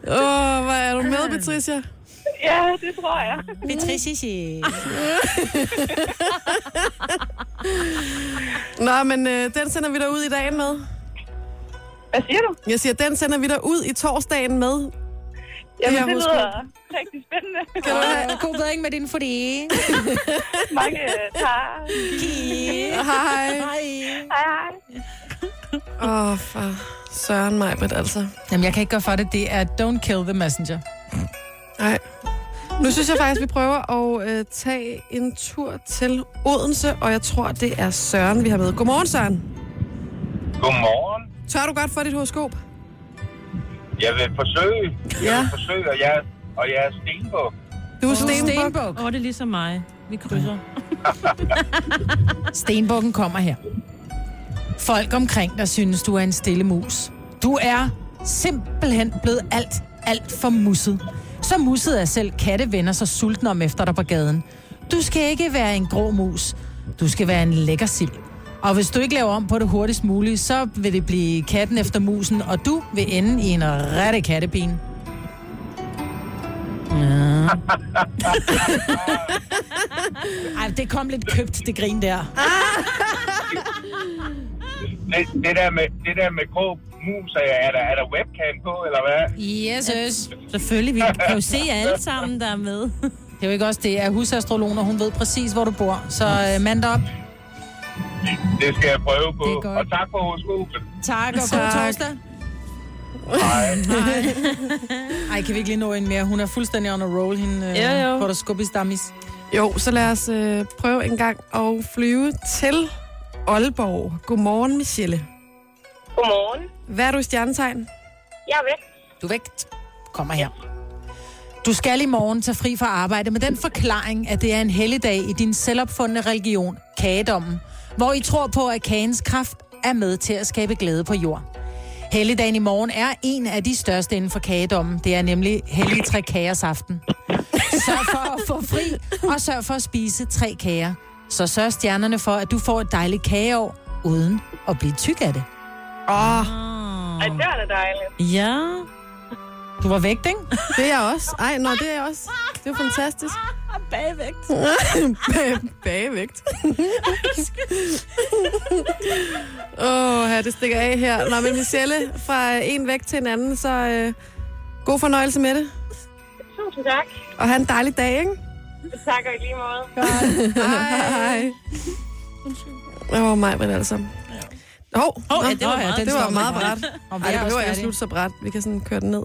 Åh, oh, hvad er du
Ah.
med, Patricia?
Ja, det tror jeg.
Betrissisi.
Nå, men øh, den sender vi dig ud i dagen med.
Hvad siger du?
Jeg siger, den sender vi dig ud i torsdagen med.
Jamen,
jeg
det, det
husker.
lyder rigtig spændende.
Kan du have?
God bedring med din futti.
Mange øh, tak.
Hej.
Hej, hej.
Åh, oh, for søren mig, men altså.
Jamen, jeg kan ikke gøre for det. Det er Don't Kill the Messenger.
Nej. Nu synes jeg faktisk, vi prøver at øh, tage en tur til Odense, og jeg tror, det er Søren, vi har med. Godmorgen, Søren.
Godmorgen.
Tør du godt få dit horoskop?
Jeg vil forsøge. Jeg
Ja.
Ah.
vil forsøge, og jeg, og jeg er stenbog.
Du er Stenbuk.
Åh, oh, det er ligesom mig. Vi krydser.
Stenbukken kommer her. Folk omkring dig synes, du er en stille mus. Du er simpelthen blevet alt, alt for musset. Så musset er selv katte vender sig sultne om efter dig på gaden. Du skal ikke være en grå mus. Du skal være en lækker sild. Og hvis du ikke laver om på det hurtigst muligt, så vil det blive katten efter musen, og du vil ende i en rette kattepine. Ja. Ej, det kom lidt købt, det grin der.
Det, det, der med, det der med grå mus, er, er, der, er der webcam på, eller hvad?
Yes, yes.
Selvfølgelig, vi kan jo se jer alle sammen, der er med.
Det er jo ikke også det, at husastrologen, og hun ved præcis, hvor du bor. Så øh, mand op.
Det skal jeg prøve på.
Det er godt.
Og tak for horoskopet.
Tak, og god
Tak.
torsdag. Ej, kan vi ikke lige nå en mere? Hun er fuldstændig on a roll, hende
Jo,
øh, ja,
jo.
jo. horoskopis dammis.
Jo, så lad os øh, prøve en gang at flyve til Aalborg. Godmorgen, Michelle.
Godmorgen.
Hvad er du i stjernetegn?
Jeg er væk.
Du er vægt. Kommer her. Du skal i morgen tage fri fra arbejde med den forklaring, at det er en helligdag i din selvopfundne religion, kagedommen, hvor I tror på, at kagens kraft er med til at skabe glæde på jord. Helligdagen i morgen er en af de største inden for kagedommen. Det er nemlig hellig tre kagers aften. Sørg for at få fri, og sørg for at spise tre kager. Så sørg stjernerne for, at du får et dejligt kageår, uden at blive tyk af det.
Åh, oh,
Ej, det er da dejligt.
Ja.
Du var vægt, ikke?
det er jeg også. Ej, nå, det er jeg også. Det er fantastisk.
Bagvægt.
Bag- Bagevægt. Åh, oh, det stikker af her. Nå, men Michelle, fra øh, en vægt til en anden, så øh, god fornøjelse med det.
Tusind tak.
Og have en dejlig dag, ikke?
Tak og i lige måde.
Hej. Åh, oh, mig, men altså. Hov, oh,
ja, det var meget-
det var
den
meget
står
bræt.
Og
Ej, det behøver ikke at slutte så bræt. Vi kan sådan køre den ned.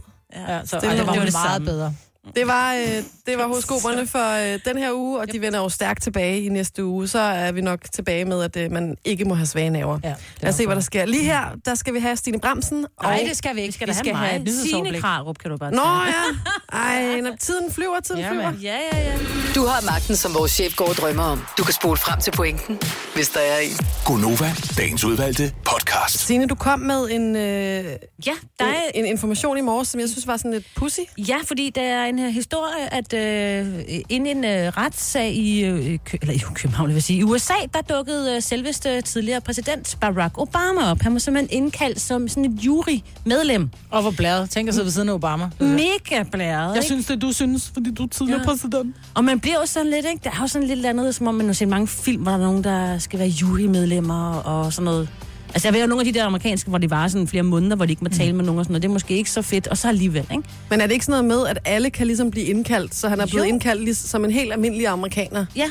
Ja, så,
Stille
ej, det
og
var,
roligt.
det
Det var det
meget bedre.
Det var, øh, det var horoskoperne for øh, den her uge, og de vender jo stærkt tilbage i næste uge. Så er vi nok tilbage med, at øh, man ikke må have svage naver.
Ja, det
Lad os se, hvad der sker. Lige her, der skal vi have Stine Bramsen. Og...
Nej, det skal vi ikke. Vi skal,
Vi skal have
et nyhedsoverblik.
Signe Krarup, kan du bare
Nå ja, ej, når tiden flyver, tiden
Ja,
flyver.
mand.
Ja, ja, ja.
Du har magten, som vores chef går og drømmer om. Du kan spole frem til pointen, hvis der er en.
Gonova, dagens udvalgte podcast.
Stine, du kom med en, øh,
Ja, der er
en, en information i morges, som jeg synes var sådan lidt pussy.
Ja, fordi der er en øh, historie, at øh, inden en øh, retssag i, øh, Kø- eller i København, vil jeg sige, i USA, der dukkede øh, selveste tidligere præsident Barack Obama op. Han var simpelthen indkaldt som sådan et jurymedlem.
Og hvor bladet. Tænk at sidde ved siden af Obama.
Mega blæret,
Jeg
ikke?
synes det, du synes, fordi du er tidligere
Ja.
ja. præsident.
Og man bliver jo sådan lidt, ikke? Der er jo sådan lidt andet, som om man har set mange film, hvor der er nogen, der skal være jurymedlemmer og sådan noget. Altså, jeg ved jo nogle af de der amerikanske, hvor det var sådan flere måneder, hvor de ikke må
Mhm.
tale med nogen og sådan noget. Det er måske ikke så fedt, og så alligevel, ikke?
Men er det ikke sådan noget med, at alle kan ligesom blive indkaldt, så han er blevet jo. indkaldt ligesom, som en helt almindelig amerikaner?
Ja.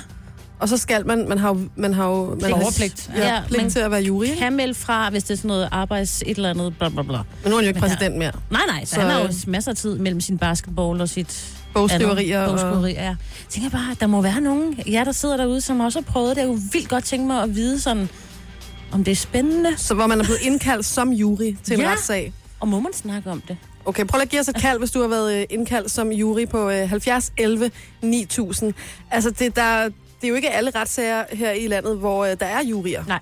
Og så skal man, man har jo... Man har jo man har-
Overpligt.
Ja, ja pligt
man
til at være jury. ikke?
Kan melde fra, hvis det er sådan noget arbejds et eller andet, bla bla bla.
Men nu er han jo ikke
Men her-
præsident mere.
Nej, nej, så,
Så,
han har jo
øh,
masser af tid mellem sin basketball og sit...
Bogskriverier
andet-
og-
Bogskriverier, ja. Tænker jeg bare, der må være nogen, jer der sidder derude, som også har prøvet det. Jeg kunne vildt godt tænke mig at vide sådan, om det er spændende,
Så hvor man er blevet indkaldt som jury til en
Ja.
ja. retssag.
og må man snakke om det?
Okay, prøv lige at give os et kald, hvis du har været øh, indkaldt som jury på øh, 70 11 9000. Altså, det, der, det er jo ikke alle retssager her i landet, hvor øh, der er jurier.
Nej,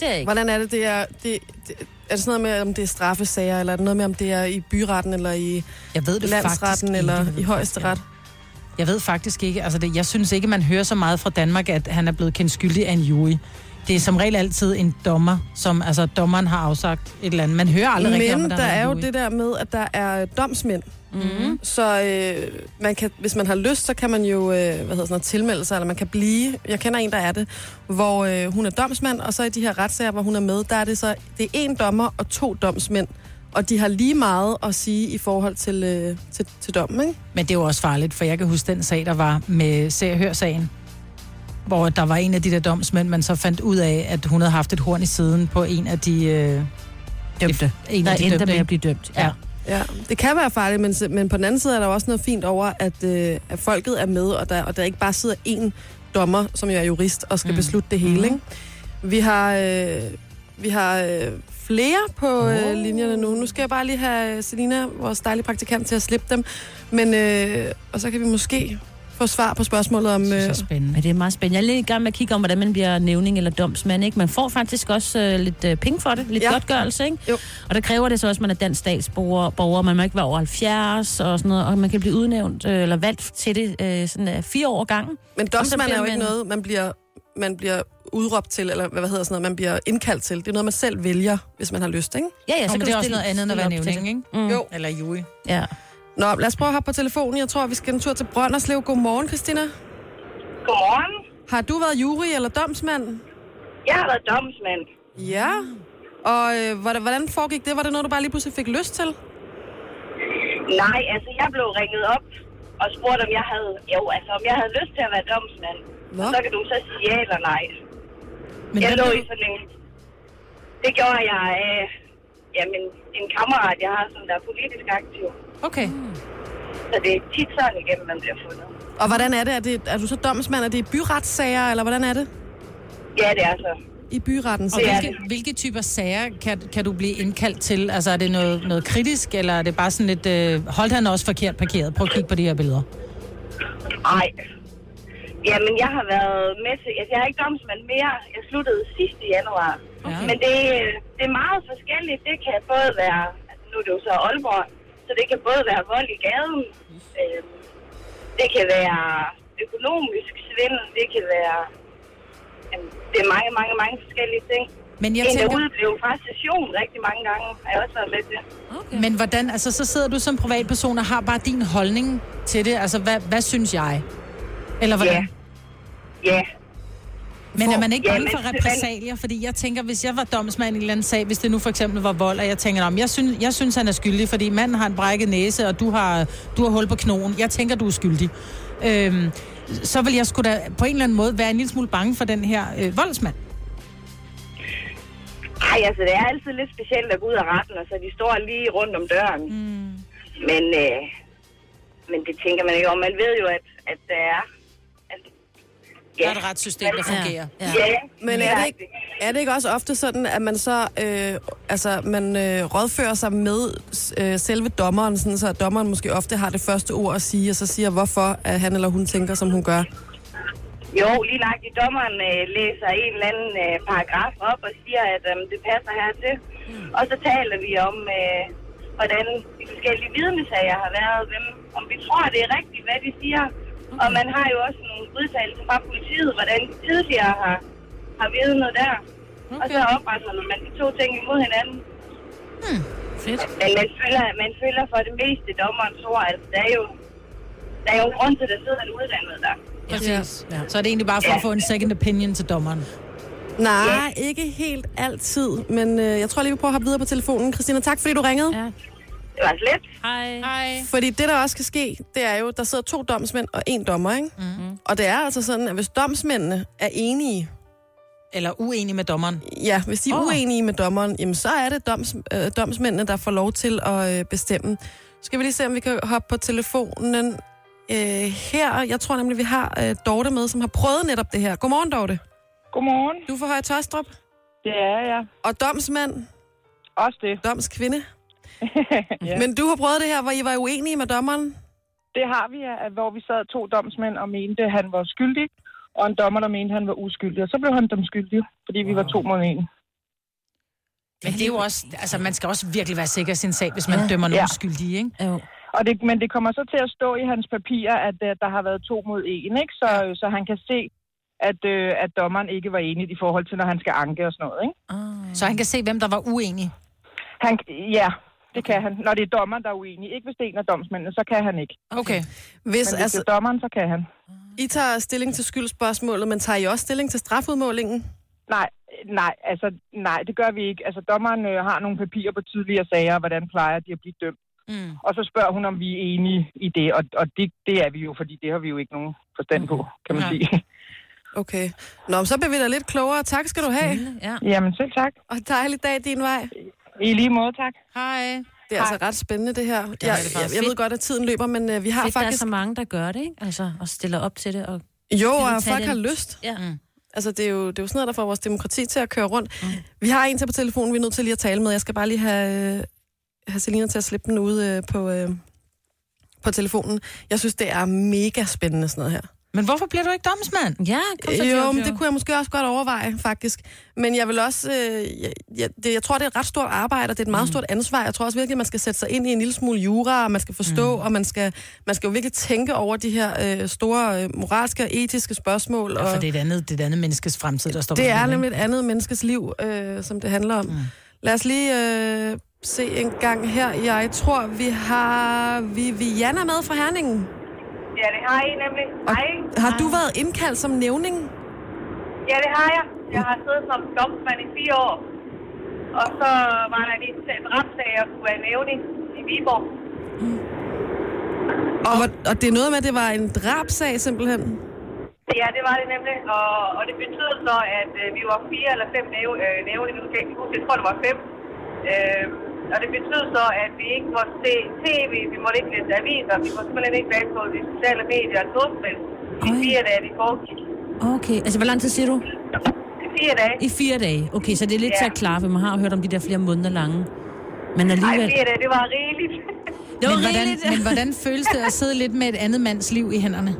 det er ikke.
Hvordan er det, det er... Det, det, er det sådan noget med, om det er straffesager, eller er det noget med, om det er i byretten, eller i
Jeg ved det faktisk
landsretten,
ikke.
eller
Jeg ved
i
det
højesteret?
faktisk ikke. Jeg ved faktisk ikke. Altså, det, jeg synes ikke, man hører så meget fra Danmark, at han er blevet kendt skyldig af en jury. Det er som regel altid en dommer, som altså dommeren har afsagt et eller andet. Man hører aldrig rigtigt om,
Men
at
der
har
er
været
jo
en jury.
det der med, at der er domsmænd.
Mm-hmm.
Så øh, man kan, hvis man har lyst, så kan man jo øh, hvad hedder sådan noget, tilmelde sig, eller man kan blive. Jeg kender en, der er det, hvor øh, hun er domsmand, og så i de her retssager, hvor hun er med, der er det så, det er en dommer og to domsmænd. Og de har lige meget at sige i forhold til, øh, til, til dommen, ikke?
Men det er jo også farligt, for jeg kan huske den sag, der var med Serhør-sagen, hvor der var en af de der domsmænd, man så fandt ud af, at hun havde haft et horn i siden på en af de... Øh,
Dømte.
en
Der
af de
endte
dømte.
med at
ikke?
blive dømt. Ja. Mm.
Ja.
Ja, det kan være farligt, men, se- men på den anden side er der jo også noget fint over, at, øh, at folket er med, og der, og der ikke bare sidder én dommer, som jo er jurist, og skal
Mm.
mm. beslutte det hele.
Mhm.
Ikke? Vi har, øh, vi har øh, flere på øh, linjerne nu. Nu skal jeg bare lige have øh, Selina, vores dejlige praktikant, til at slippe dem. Men, øh, og så kan vi måske få svar på spørgsmålet om...
Det
Øh,
er så spændende.
Men det er meget spændende. Jeg er lidt i gang med at kigge om, hvordan man bliver nævning eller domsmand. Ikke? Man får faktisk også øh, lidt øh, penge for det, lidt ja.
Ja.
godtgørelse. Ikke?
Jo.
Og der kræver det så også, at man er dansk statsborger, borger, man må ikke være over 70 og sådan noget, og man kan blive udnævnt øh, eller valgt til det øh, sådan, øh, fire år gangen.
men domsmand er jo
bliver
ikke
man-
noget, man bliver, man bliver udråbt til, eller hvad hvad hedder sådan noget, man bliver indkaldt til. Det er noget, man selv vælger, hvis man har lyst, ikke?
Ja, ja, så
Så
Altså, kan
det
du
er også
stille-
noget andet end at være
stille op til
nævning,
det.
ikke?
Mm. Jo.
Eller jury.
Ja.
Nå, lad os prøve at hoppe på telefonen. Jeg tror, vi skal en tur til Brønderslev. Godmorgen, Christina.
Godmorgen.
Har du været jury eller domsmand?
Jeg har været domsmand.
Ja. Og øh, hvordan hvordan foregik det? Var det noget, du bare lige pludselig fik lyst til?
Nej, altså jeg blev ringet op og spurgt, om jeg havde, jo, altså, om jeg havde lyst til at være domsmand.
Nå.
Og så kan du så sige ja eller nej.
Men
jeg
hvad
lå
blev-
i sådan en... Det gjorde jeg af jamen, en kammerat, jeg har, som der er politisk aktiv.
Okay.
Så det er tit sådan igennem, man bliver fundet.
Og hvordan er det? Er, det, er du så domsmand? Er det i byretssager, eller hvordan er det?
Ja, det er så.
I byretten.
Og
Så.
Det er
hvilke, hvilke typer sager kan, kan du blive indkaldt til? Altså er det noget, noget kritisk, eller er det bare sådan lidt, øh, holdt han også forkert parkeret? Prøv at kigge på de her billeder.
Nej. Jamen, jeg har været med til... Altså, jeg er ikke domsmand mere. Jeg sluttede sidste januar.
Ja.
Men det, øh, det er meget forskelligt. Det kan både være... Altså, nu er det jo så Aalborg. Så det kan både være vold i gaden. Øh, det kan være økonomisk svindel. Det kan være... Jamen, det er mange, mange, mange forskellige ting.
Men jeg
en, der
tænker-
udeblev fra station rigtig mange gange, har jeg også været med til.
Men hvordan, altså så sidder du som privatperson og har bare din holdning til det. Altså hvad, hvad synes jeg? Eller hvordan?
Ja. Ja,
Men er man ikke
Ja,
bange
men-
for repræsalier? Fordi jeg tænker, hvis jeg var domsmand i en eller anden sag, hvis det nu for eksempel var vold, og jeg tænker, om jeg synes, jeg synes han er skyldig, fordi manden har en brækket næse, og du har, du har hul på knogen. Jeg tænker, du er skyldig. Øhm, så vil jeg sgu da på en eller anden måde være en lille smule bange for den her øh, voldsmand.
Ej, altså det er altid lidt specielt at gå ud af retten, og så de står lige rundt om døren. Mm. Men, øh, men det tænker man ikke om. Man ved jo, at, at der er... At,
Der er et retssystem, der fungerer.
Ja. Ja.
Ja,
Men er det, ikke, er det ikke også ofte sådan, at man så øh, altså, man, øh, rådfører sig med øh, selve dommeren, sådan, så dommeren måske ofte har det første ord at sige, og så siger, hvorfor at han eller hun tænker, som hun gør?
Jo, lige lagt i dommeren øh, læser en eller anden øh, paragraf op og siger, at
øhm,
øh, det passer hertil. Mm. Og så taler vi om, øh, hvordan de forskellige vidnesager har været, hvem
om vi tror, det er rigtigt, hvad de siger. Og man har jo også nogle udtalelser fra politiet, hvordan de tidligere har, har vidnet noget der. Okay. Og så opretholder man de to ting imod hinanden.
Hmm. Fedt.
Men man føler, man føler for det meste dommerens ord. Altså, der er jo, der er jo en grund til, at der sidder en uddannet der.
Præcis. Ja. Så er det egentlig bare for at få en second opinion til dommeren.
Nej, ikke helt altid, men øh, jeg tror lige, vi prøver at hoppe videre på telefonen. Christina, tak fordi du ringede. Ja.
Det var slet.
Hej.
Hej.
Fordi det, der også kan ske, det er jo, der sidder to domsmænd og en dommer, ikke? Mm-hmm. Og det er altså sådan, at hvis domsmændene er enige,
Eller uenig med dommeren.
ja, hvis de er
Åh.
oh. uenige med dommeren, jamen så er det doms, øh, domsmændene, der får lov til at øh, bestemme. Så skal vi lige se, om vi kan hoppe på telefonen øh, her. Jeg tror nemlig, vi har øh, Dorte med, som har prøvet netop det her. Godmorgen, Dorte.
Godmorgen.
Du er fra Høje Tostrup.
Det er jeg.
Og domsmand.
Også det.
Domskvinde. ja. Men du har prøvet det her, hvor I var uenige med dommeren.
Det har vi, ja, at hvor vi sad to domsmænd og mente, at han var skyldig, og en dommer, der mente, at han var uskyldig. Og så blev han dem skyldig, fordi vi var to mod en.
Men det er jo også, altså man skal også virkelig være sikker i sin sag, hvis man ja. dømmer nogen ja. skyldige, ikke?
Jo.
Og det, men det kommer så til at stå i hans papirer, at, at der har været to mod en, ikke? Så, øh, så han kan se, at, øh, at dommeren ikke var enig i forhold til, når han skal anke og sådan noget. Ikke?
Så han kan se, hvem der var uenig.
Han, ja, det kan han. Når det er dommeren, der er uenig. Ikke hvis det er en af domsmændene, så kan han ikke.
Okay.
Hvis,
Hvis,
men hvis altså...
altså,
det er dommeren, så kan han.
I tager stilling til skyldspørgsmålet, men tager I også stilling til strafudmålingen?
Nej, nej, altså, nej, det gør vi ikke. Altså, dommeren øh, har nogle papirer på tidligere sager, og hvordan plejer de at blive dømt.
Mm.
Og så spørger hun, om vi er enige i det, og, og det, det er vi jo, fordi det har vi jo ikke nogen forstand på, kan man
Nej.
sige.
Okay. Nå, men så bliver vi da lidt klogere. Tak skal du have.
Ja.
Jamen, selv tak.
Og dejlig dag din vej.
I lige måde, tak.
Hej.
Det er altså ret spændende, det her. Jeg,
det
jeg,
faktisk.
jeg ved godt, at tiden løber, men øh, vi har
Fedt, der er
faktisk...
så mange, der gør det, ikke? Altså, og stiller op til det. Og
Jo,
Kan vi
og
tage
folk
den?
har lyst.
Ja. Mm.
Altså, det er, jo, det er jo sådan noget, der får vores demokrati til at køre rundt. Mm. Vi har en til på telefonen, vi er nødt til lige at tale med. Jeg skal bare lige have, øh, have Selina til at slippe den ud øh, på, øh, på telefonen. Jeg synes, det er mega spændende sådan noget her.
Men hvorfor bliver du ikke domsmand?
Ja, kom så,
Jo,
Jojo.
men det kunne jeg måske også godt overveje, faktisk. Men jeg vil også... Øh, jeg, jeg, det, jeg tror, det er et ret stort arbejde, og det er et meget mm. stort ansvar. Jeg tror også virkelig, man skal sætte sig ind i en lille smule jura, og man skal forstå, mm. og man skal, man skal jo virkelig tænke over de her øh, store øh, moralske og etiske spørgsmål.
Ja,
og
for det er et andet, det er et andet menneskes fremtid, der står på
det er
spil,
nemlig et andet menneskes liv, øh, som det handler om. Mm. Lad os lige øh, se en gang her. Jeg tror, vi har Viviana med fra Herningen.
Ja, det har I nemlig. Hej.
Har du været indkaldt som nævning?
Ja, det har jeg. Jeg har siddet som domsmand i fire år. Og så var der lige en retssag, jeg skulle være nævning i Viborg.
Og, hvor- og det er noget med, at det var en drabsag simpelthen.
Ja, det var det nemlig. Og, og det betød så, at øh, vi var fire eller fem næv- øh, nævne, nu kan jeg ikke huske, jeg tror, det var fem. Øh, og det betød så, at vi ikke måtte se tv, vi måtte ikke læse aviser, vi måtte simpelthen ikke være på de sociale medier og noget som helst. I
Ej.
fire dage, det foregik.
Okay, altså hvor lang tid siger du?
I fire dage.
I fire dage. Okay, så det er lidt
Ja.
til at klare, for man har jo hørt om de der flere måneder lange. Men
Nej,
alligevel...
fire dage, det var rigeligt.
Det var
men, hvordan,
rigeligt.
men hvordan føles det at sidde lidt med et andet mands liv i hænderne?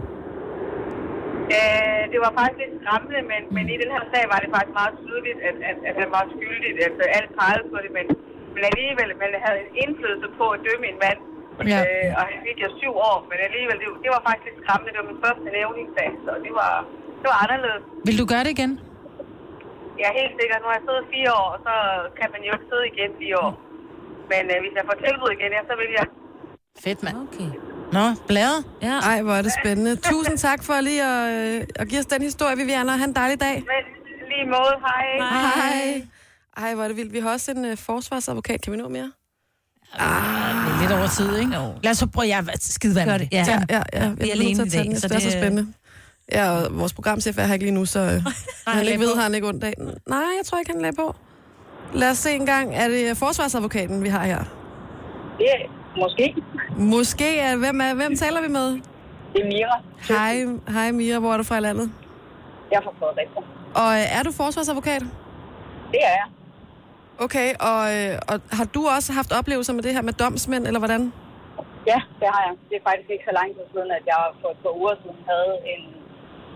Øh, det var faktisk lidt skræmmende, men, men i den her sag var det faktisk meget tydeligt, at, at, at han var skyldig. Altså, alt pegede på det, men, men alligevel man havde en indflydelse på at dømme en mand.
Ja.
Ja. Øh, og han fik jo syv år, men alligevel, det, det var faktisk lidt skræmmende. Det var min første nævningssag, så det var, det var anderledes.
Vil du gøre det igen?
Ja, helt sikkert. Nu har jeg siddet fire år, og så kan man jo ikke sidde igen fire år. Men øh, hvis jeg får tilbud igen, ja, så vil jeg.
Fedt, mand.
Okay.
Nå, blæret.
Ja.
Ej, hvor er det spændende. Tusind tak for lige at, øh, at give os den historie, Viviana. Ha' en dejlig dag.
Men lige måde, hej.
Hej. Ej, hvor er det vildt. Vi har også en øh, forsvarsadvokat. Kan vi nå mere?
Ah, Det er lidt over tid, ikke? Jo. Lad os så prøve, jeg er skidevand med
Gør
det.
det.
Ja.
Ja.
Ja, ja. ja.
vi er
bliver nødt til
alene i
at tage
dag,
den. Jeg
så
synes, det er så
det-
spændende. Ja, og vores programchef er her ikke lige nu, så øh, når han
han
ikke
lagde
ved,
på.
har han ikke ondt af. Nej, jeg tror ikke, han lagde på. Lad os se en gang. Er det øh, forsvarsadvokaten, vi har her?
Det er måske.
Måske. Er, hvem, er, hvem taler vi med?
Det er Mira.
Hej, hej Mira. Hvor er du fra i landet?
Jeg får fået rigtigt.
Og øh, er du forsvarsadvokat?
Det er jeg.
Okay, og, øh, og har du også haft oplevelser med det her med domsmænd, eller hvordan?
Ja, det har jeg. Det er faktisk ikke så lang tid siden, at jeg for et par uger siden havde en,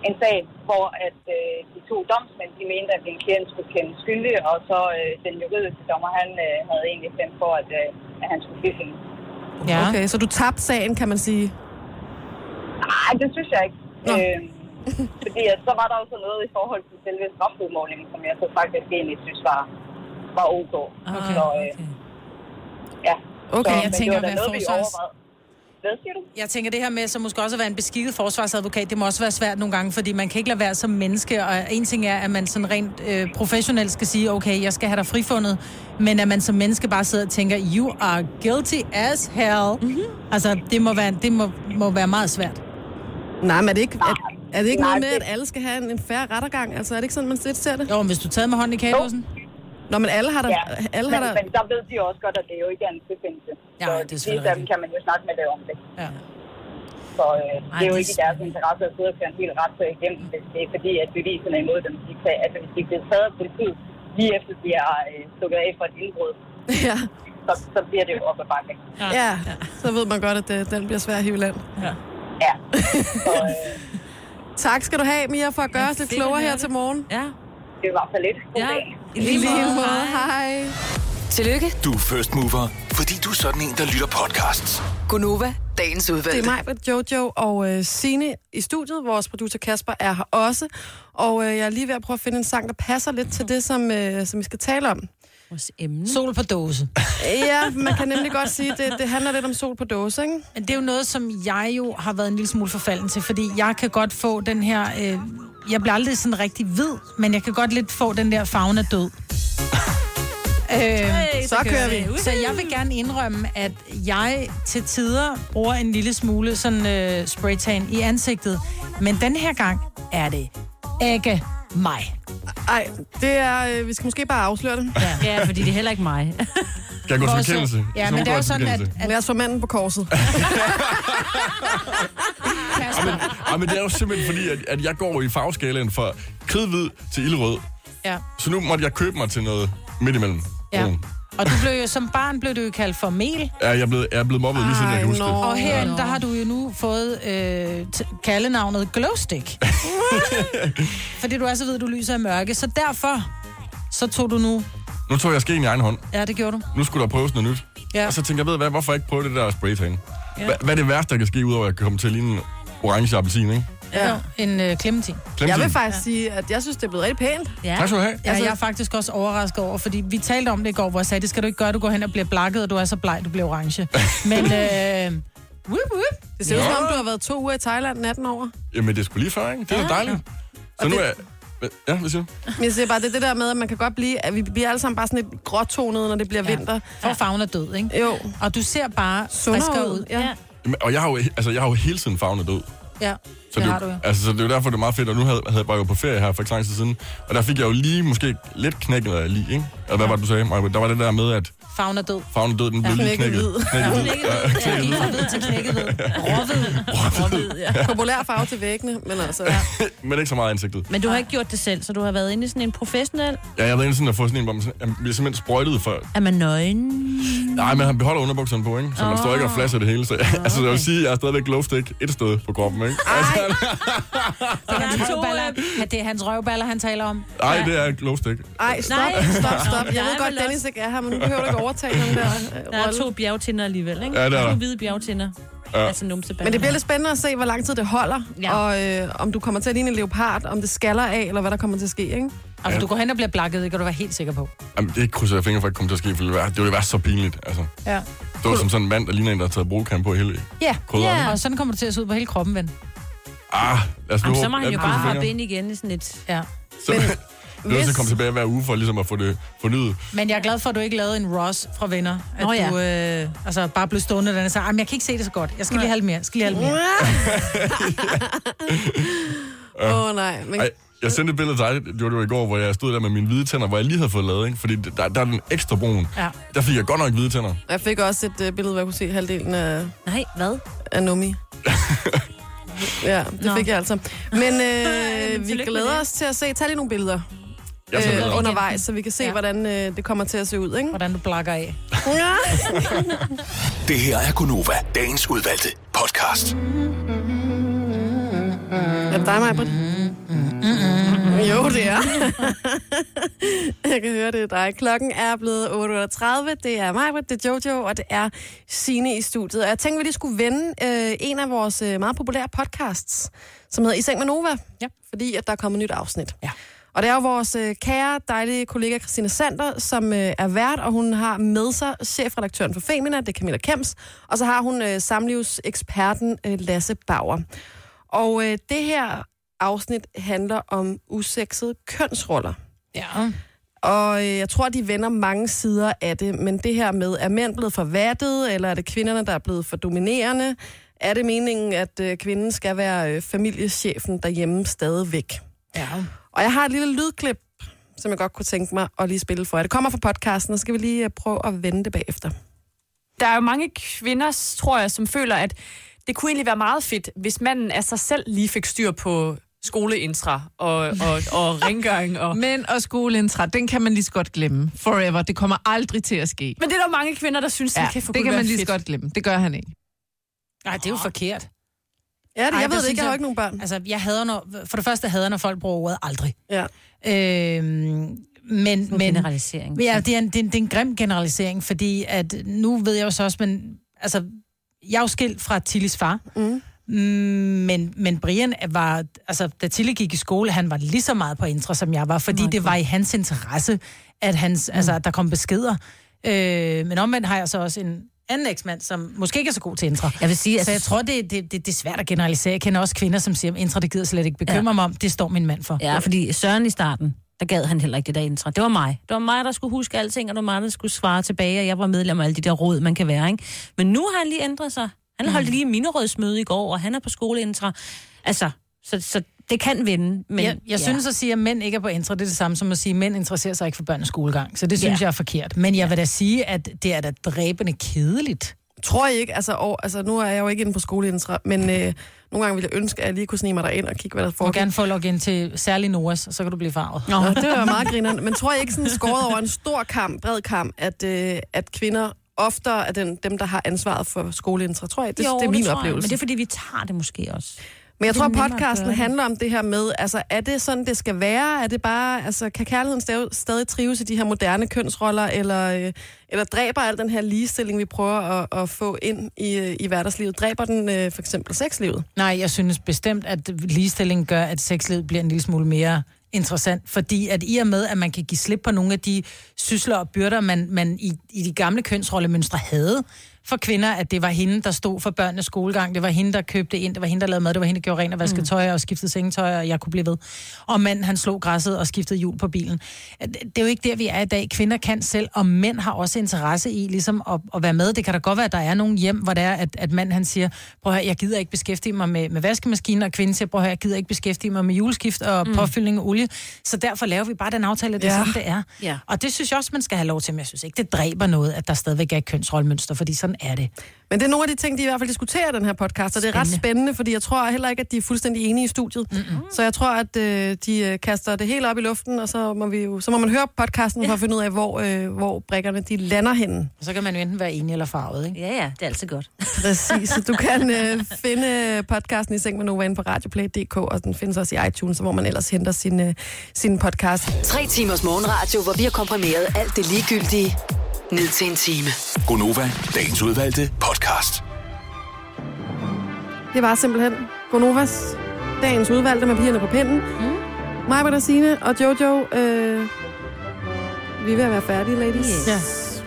en sag, hvor at, øh, de to domsmænd de mente, at min klient skulle kendes skyldig, og så øh, den juridiske dommer, han øh, havde egentlig stemt for, at, øh, at han skulle frifindes.
Ja. Okay, så du tabte sagen, kan man sige.
Nej, det synes jeg ikke. Øhm, fordi at så var der også noget i forhold til selve strafudmålingen, som jeg så faktisk egentlig synes var, var ok.
Ah,
Okay, så, øh, okay. Ja. så,
Okay, jeg
men det
tænker,
var da
hvad
noget, vi
forsvars-
overvejede. Hvad siger du?
Jeg tænker, det her med så måske også at være en beskikket forsvarsadvokat, det må også være svært nogle gange, fordi man kan ikke lade være som menneske, og en ting er, at man sådan rent øh, professionelt skal sige, okay, jeg skal have dig frifundet, men at man som menneske bare sidder og tænker, you are guilty as hell. Mm-hmm. Altså, det må være, det må, må være meget svært.
Nej, men er det ikke, er, er det ikke
Nej,
noget med,
det-
at alle skal have en, en færre rettergang? Altså, er det ikke sådan, man lidt ser det?
Jo, men hvis du tager med hånden i kageåsen.
Nå, men alle har der...
Ja,
Alle
men,
har der...
men der ved de jo også godt, at det jo ikke er en tilfindelse.
Ja,
så
det er selvfølgelig
de dem kan man jo snakke med det om det.
Ja.
Så øh, det er jo
det er
ikke i deres interesse at sidde og køre en hel retssag igennem, hvis det er fordi, at beviserne er imod dem. De kan, altså, hvis de bliver taget af politiet, lige efter de er øh, stukket af for et indbrud,
ja.
så, så bliver det jo op ad bakke.
Ja. ja. så ved man godt, at det, den bliver svær at hive i land.
Ja.
ja. øh,
tak skal du have, Mia, for at gøre os lidt
fedt at
klogere
høre
her
det.
til morgen.
Ja.
Det var for lidt.
Ja,
I
i
lige
lige
måde.
måde. Hej.
Tillykke,
Du er first mover, fordi du er sådan en, der lytter podcasts.
Gunova, dagens udvalgte.
Det er mig, Britt, Jojo og øh, Sine i studiet. Vores producer Kasper er her også. Og øh, jeg er lige ved at prøve at finde en sang, der passer lidt til det, som, øh, som vi skal tale om.
Vores emne.
Sol på dåse.
Ja, man kan nemlig godt sige, det, det handler lidt om sol på dåse, ikke?
Men det er jo noget, som jeg jo har været en lille smule forfalden til, fordi jeg kan godt få den her... Øh, jeg bliver aldrig sådan rigtig hvid, men jeg kan godt lidt få den der farven af død. Øh,
så kører vi.
Så jeg vil gerne indrømme, at jeg til tider bruger en lille smule sådan øh, spraytan i ansigtet. Men den her gang er det ikke mig.
Ej, det er... Øh, vi skal måske bare afsløre det.
Ja,
ja fordi det er heller ikke mig.
Kan jeg gå til bekendelse?
Ja,
Så
men
må
det er
jeg
jo
til
sådan, at,
bekendelse.
at... Lad os få manden på korset.
Ej, men det er jo simpelthen fordi, at, at jeg går i farveskalaen fra kødhvid til ildrød.
Ja.
Så nu måtte jeg købe mig til noget midt imellem.
Ja.
Mm.
Og du blev jo som barn blev du jo kaldt for mel.
Ja, jeg er blevet, jeg er blevet mobbet lige siden jeg kan huske det.
Og herinde, der har du jo nu fået øh, t- kaldenavnet Glowstick. Fordi du er så ved, du lyser i mørke. Så derfor, så tog du nu...
Nu tog jeg skeen i egen hånd.
Ja, det gjorde du.
Nu skulle der prøves noget nyt.
Ja.
Og så tænkte jeg, ved du hvad, hvorfor ikke prøve det der spraytan?
Ja.
Ja. Hvad er det værste, der kan ske, udover at jeg kommer til at ligne en orange appelsin, ikke?
Ja. Jo, en øh, clementin.
Clementin. Jeg vil
faktisk ja. sige, at jeg synes, det er blevet rigtig pænt.
Ja.
Tak skal du have.
Ja, jeg er faktisk også overrasket over, fordi vi talte om det i går, hvor jeg sagde, det skal du ikke gøre, du går hen og bliver blakket, og du er så bleg, du bliver orange. Men øh, whoop, whoop.
Det ser ud som om,
Nå.
du har været to uger i Thailand natten over.
Jamen, det skulle lige før, ikke? Det er ja. dejligt. Så
Og
nu
det-
er jeg... Ja, hvad siger du?
Men jeg siger bare, det er det der med, at man kan godt blive... At vi bliver alle sammen bare sådan lidt gråtonede, når det bliver ja. vinter.
For farven er død, ikke?
Jo.
Og du ser bare friskere ud.
Ja.
Jamen, Og jeg har jo, altså, jeg har jo hele tiden farven død.
Ja,
Så det, er jo- altså, så det er jo derfor, det er meget fedt, og nu havde, havde jeg jo på ferie her for ikke så lang tid siden, og der fik jeg jo lige måske lidt knækket af lige, ikke? Og hvad var det, du sagde, Maja? Der var det der med, at
Farven er død.
farven er død, den blev lige knækket. Knækket hvid. Ja,
Ja,
knækket
lige
hvid.
fra hvid til knækket hvid.
Ja. Populær farve til væggene, men altså... Ja.
Men ikke så meget i ansigtet.
Men du har ikke gjort det selv, så du har været inde i sådan en professionel...
Ja, jeg ved ikke sådan at få sådan en, hvor man sådan- jamen, bliver simpelthen sprøjtet for...
Er man nøgen?
Nej, men han beholder underbukserne på, ikke? Så man står ikke og flasher det hele. Så, altså, jeg vil sige, jeg er stadigvæk glowstick et sted på kroppen, ikke? Altså,
Det er, hans røvballer, at det er hans røvballer, han taler om.
nej, det er glowstick.
Ej, stop,
Nej.
stop, stop. Jeg
Der er
ved godt,
vel
Dennis ikke er her, men nu behøver du ikke overtage ham der. øh,
Der er
rolle.
to bjergtinder alligevel, ikke?
Ja, det er der.
To hvide bjergtinder.
Ja.
Altså numseballer.
Men det bliver lidt spændende at se, hvor lang tid det holder, ja. og øh, om du kommer til at ligne en leopard, om det skaller af, eller hvad der kommer til at ske, ikke?
Og hvis altså, du går hen og bliver blakket, det kan du være helt sikker på.
Jamen, det krydser jeg fingre for, at det kommer til at ske, for det ville være, det ville være så pinligt, altså.
Ja.
Det var som sådan en mand, der ligner en, der har taget brugkamp på i hele
Ja,
Krydderne.
ja. og sådan kommer du til at se ud på hele kroppen, ven.
Ah, lad os nu
Jamen, så
håbe,
må han
at vi
jo
krydser
bare hoppe
fingre.
ind igen i sådan et...
Ja.
Så men, nødt til at komme tilbage hver uge for ligesom at få det fornyet.
Men jeg er glad for, at du ikke lavede en Ross fra venner. At
Nå ja.
du øh, altså, bare blev stående der og sagde, "Jamen, jeg kan ikke se det så godt. Jeg skal lige have lidt mere. Jeg skal lige have lidt
Mm.
mere.
Åh, oh, nej. Men...
Ej, jeg sendte et billede til dig, Jojo, i går, hvor jeg stod der med mine hvide tænder, hvor jeg lige havde fået lavet, ikke? Fordi der, der er den ekstra brun.
Ja.
Der fik jeg godt nok hvide tænder.
Jeg fik også et øh, billede, hvor jeg kunne se halvdelen af...
Nej, hvad?
Af Nomi. ja, det
Nå.
Nå. fik jeg altså. Men øh, vi
tillykke med
glæder
det.
os til at se. Tag lige nogle billeder
Jeg tager billeder.
øh, undervejs, så vi kan se, ja. hvordan øh, det kommer til at se ud, ikke?
Hvordan du blakker af.
Det her er Gunova, dagens udvalgte podcast.
Mm-hmm. Ja, dig, Maja. Jo, det er. Jeg kan høre det er dig. Klokken er blevet 8.38. Det er mig, det er Jojo, og det er Sine i studiet. Og jeg tænkte, vi lige skulle vende øh, en af vores øh, meget populære podcasts, som hedder I Seng med Nova. Ja. Fordi at der er kommet et nyt afsnit. Ja. Og det er jo vores øh, kære, dejlige kollega Christina Sander, som øh, er vært, og hun har med sig chefredaktøren for Femina, det er Camilla Kems, og så har hun øh, samlivseksperten øh, Lasse Bauer. Og øh, det her afsnit handler om usexede kønsroller.
Ja.
Og øh, jeg tror, de vender mange sider af det, men det her med, er mænd blevet for vattede, eller er det kvinderne, der er blevet for dominerende? Er det meningen, at øh, kvinden skal være øh, familiechefen derhjemme stadigvæk?
Ja.
Og jeg har et lille lydklip, som jeg godt kunne tænke mig at lige spille for jer. Det kommer fra podcasten, og så skal vi lige øh, prøve at vende det bagefter.
der er jo mange kvinder, tror jeg, som føler, at det kunne egentlig være meget fedt, hvis manden af sig selv lige fik styr på skoleintra og, og, og rengøring. Og...
Men og skoleintra, den kan man lige så godt glemme. Forever. Det kommer aldrig til at ske.
Men det er der jo mange kvinder, der synes,
Ja,
det kan for
det
Gud
kan
være
man lige så
fedt.
godt glemme. Det gør han ikke.
Nej, det er jo forkert.
Ja, det, jeg ved
der
det
synes
ikke. Jeg har jo ikke nogen børn.
Altså, jeg hader, når, for det første hader, jeg, når folk bruger ordet aldrig.
Ja.
Øhm, men, men,
generalisering.
Ja, det er, en, det, er en, det er en grim generalisering, fordi at nu ved jeg jo så også, men altså, jeg er jo skilt fra Tillis far,
mm.
men, men Brian var, altså, da Tilly gik i skole, han var lige så meget på intra, som jeg var, fordi det var i hans interesse, at, hans, mm. altså, at der kom beskeder. Øh, men omvendt har jeg så også en anden eksmand, som måske ikke er så god til intra.
Jeg vil sige,
så
altså-
jeg tror, det, det, det, det er svært at generalisere. Jeg kender også kvinder, som siger, at intra, det gider jeg slet ikke bekymre ja. mig om. Det står min mand for.
Ja, fordi Søren i starten, der gad han heller ikke det der intra. Det var mig. Det var mig, der skulle huske alting, og det var mig, der skulle svare tilbage, og jeg var medlem af alle de der råd, man kan være, ikke? Men nu har han lige ændret sig. Han holdt lige minerådsmøde i går, og han er på skoleintra. Altså, så, så det kan vende, men...
Men, jeg jeg ja. synes at sige, at mænd ikke er på intra, det er det samme som at sige, at mænd interesserer sig ikke for børnenes skolegang. Så det synes
Ja.
ja. jeg er forkert. Men jeg vil da sige, at det er da dræbende kedeligt.
Tror jeg ikke, altså, og, altså nu er jeg jo ikke inde på skoleintra, men øh, nogle gange ville jeg ønske, at jeg lige kunne snige mig derind og kigge, hvad der
Du må
foregår.
gerne få login til særlig Noras, så kan du blive farvet.
Nå, det var meget grinerende. Men tror jeg ikke sådan skåret over en stor kamp, bred kamp, at, øh, at kvinder oftere er den, dem, der har ansvaret for skoleintra, tror jeg. Det, det er min
tror jeg,
oplevelse.
Men det er, fordi vi tager det måske også.
Men jeg
Det er
tror,
nemmere at gøre
podcasten
det.
handler om det her med, altså, er det sådan, det skal være? Er det bare, altså, kan kærligheden stav, stadig trives i de her moderne kønsroller, eller, øh, eller dræber al den her ligestilling, vi prøver at, at få ind i, øh, i hverdagslivet? Dræber den øh, for eksempel sexlivet?
Nej, jeg synes bestemt, at ligestilling gør, at sexlivet bliver en lille smule mere interessant, fordi at i og med, at man kan give slip på nogle af de sysler og byrder, man, man i, i de gamle kønsrollemønstre havde for kvinder, at det var hende, der stod for børnenes skolegang, det var hende, der købte ind, det var hende, der lavede mad, det var hende, der gjorde rent og vaskede
Mm.
tøj og skiftede sengetøj, og jeg kunne blive ved. Og manden, han slog græsset og skiftede hjul på bilen. At Det det er jo ikke der, vi er i dag. Kvinder kan selv, og mænd har også interesse i ligesom at, at være med. Det kan da godt være, at der er nogle hjem, hvor der er, at, at manden han siger, prøv at høre, jeg gider ikke beskæftige mig med, med vaskemaskinen, og kvinden siger, prøv at høre, jeg gider ikke beskæftige mig med juleskift og
Mm.
mm. påfyldning af olie. Så derfor laver vi bare den aftale, at det
Ja.
ja. er sådan, det er.
Ja.
Og det synes jeg også, man skal have lov til, men jeg synes ikke, det dræber noget, at der stadigvæk er et kønsrollemønster, fordi sådan er det.
Men det er nogle af de ting, de i hvert fald diskuterer i den her podcast, og det er ret
Spændende.
spændende, fordi jeg tror heller ikke, at de er fuldstændig enige i studiet. Mm-hmm. Så jeg tror, at øh, de øh, kaster det hele op i luften, og så må, vi jo, så må man høre podcasten for at finde ud af, hvor, øh, hvor brækkerne de lander henne.
Og så kan man jo enten være enig eller farvet, ikke?
Ja, ja, det er altid godt.
Præcis, så du kan øh, finde podcasten i seng med Nova inde på radioplay.dk, og den findes også i iTunes, hvor man ellers henter sin, øh, sin podcast.
Tre timers morgenradio, hvor vi har komprimeret alt det ligegyldige ned til en time.
Gonova, dagens udvalgte podcast.
Det var simpelthen Gonovas dagens udvalgte med pigerne på pinden. Mm. Mig, Britta, Signe og Jojo, øh, vi er ved at være færdige, ladies.
Yes.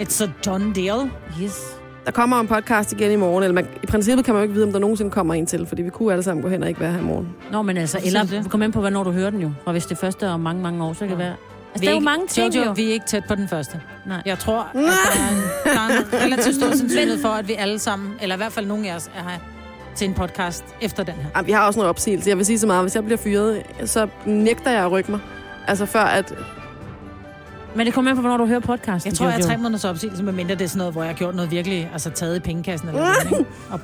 It's a done deal.
Yes.
Der kommer en podcast igen i morgen, eller man, i princippet kan man jo ikke vide, om der nogensinde kommer en til, fordi vi kunne alle sammen gå hen og ikke være her i morgen.
Nå, men altså,
Hvorfor siger du
eller
det?
kom ind på, hvornår du hører den jo. Og hvis det første er om mange, mange år, så kan det være... Altså, der er jo mange ting,
Jojo,
jo.
vi er ikke tæt på den første.
Nej.
Jeg tror, at der er en, der er en relativt stor sandsynlighed for, at vi alle sammen, eller i hvert fald nogen af os, er her til en podcast efter den her.
Jamen, vi har også noget opsigelse. Jeg vil sige så meget, hvis jeg bliver fyret, så nægter jeg at rykke mig. Altså før at...
Men det kommer an på, hvornår du hører podcasten.
Jeg tror, jeg er
Jojo.
tre måneders opsigelse, medmindre det er sådan noget, hvor jeg har gjort noget virkelig, altså taget i pengekassen eller noget, ikke? og,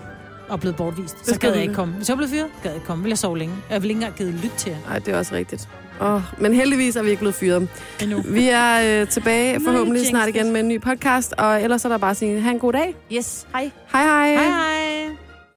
og blevet bortvist. Så
skal
gad
du
jeg ikke
ikke.
komme. Hvis jeg blev fyret, gad jeg ikke komme. Vil jeg sove længe. Jeg vil ikke engang givet lyt til jer.
Nej, det er også rigtigt. Oh, men heldigvis er vi ikke blevet fyret.
Endnu.
Vi er øh, tilbage
Nej,
forhåbentlig
jinx
snart igen med en ny podcast, og ellers er der bare at sige, have en god dag.
Yes, hej.
Hej hej.
Hej hej.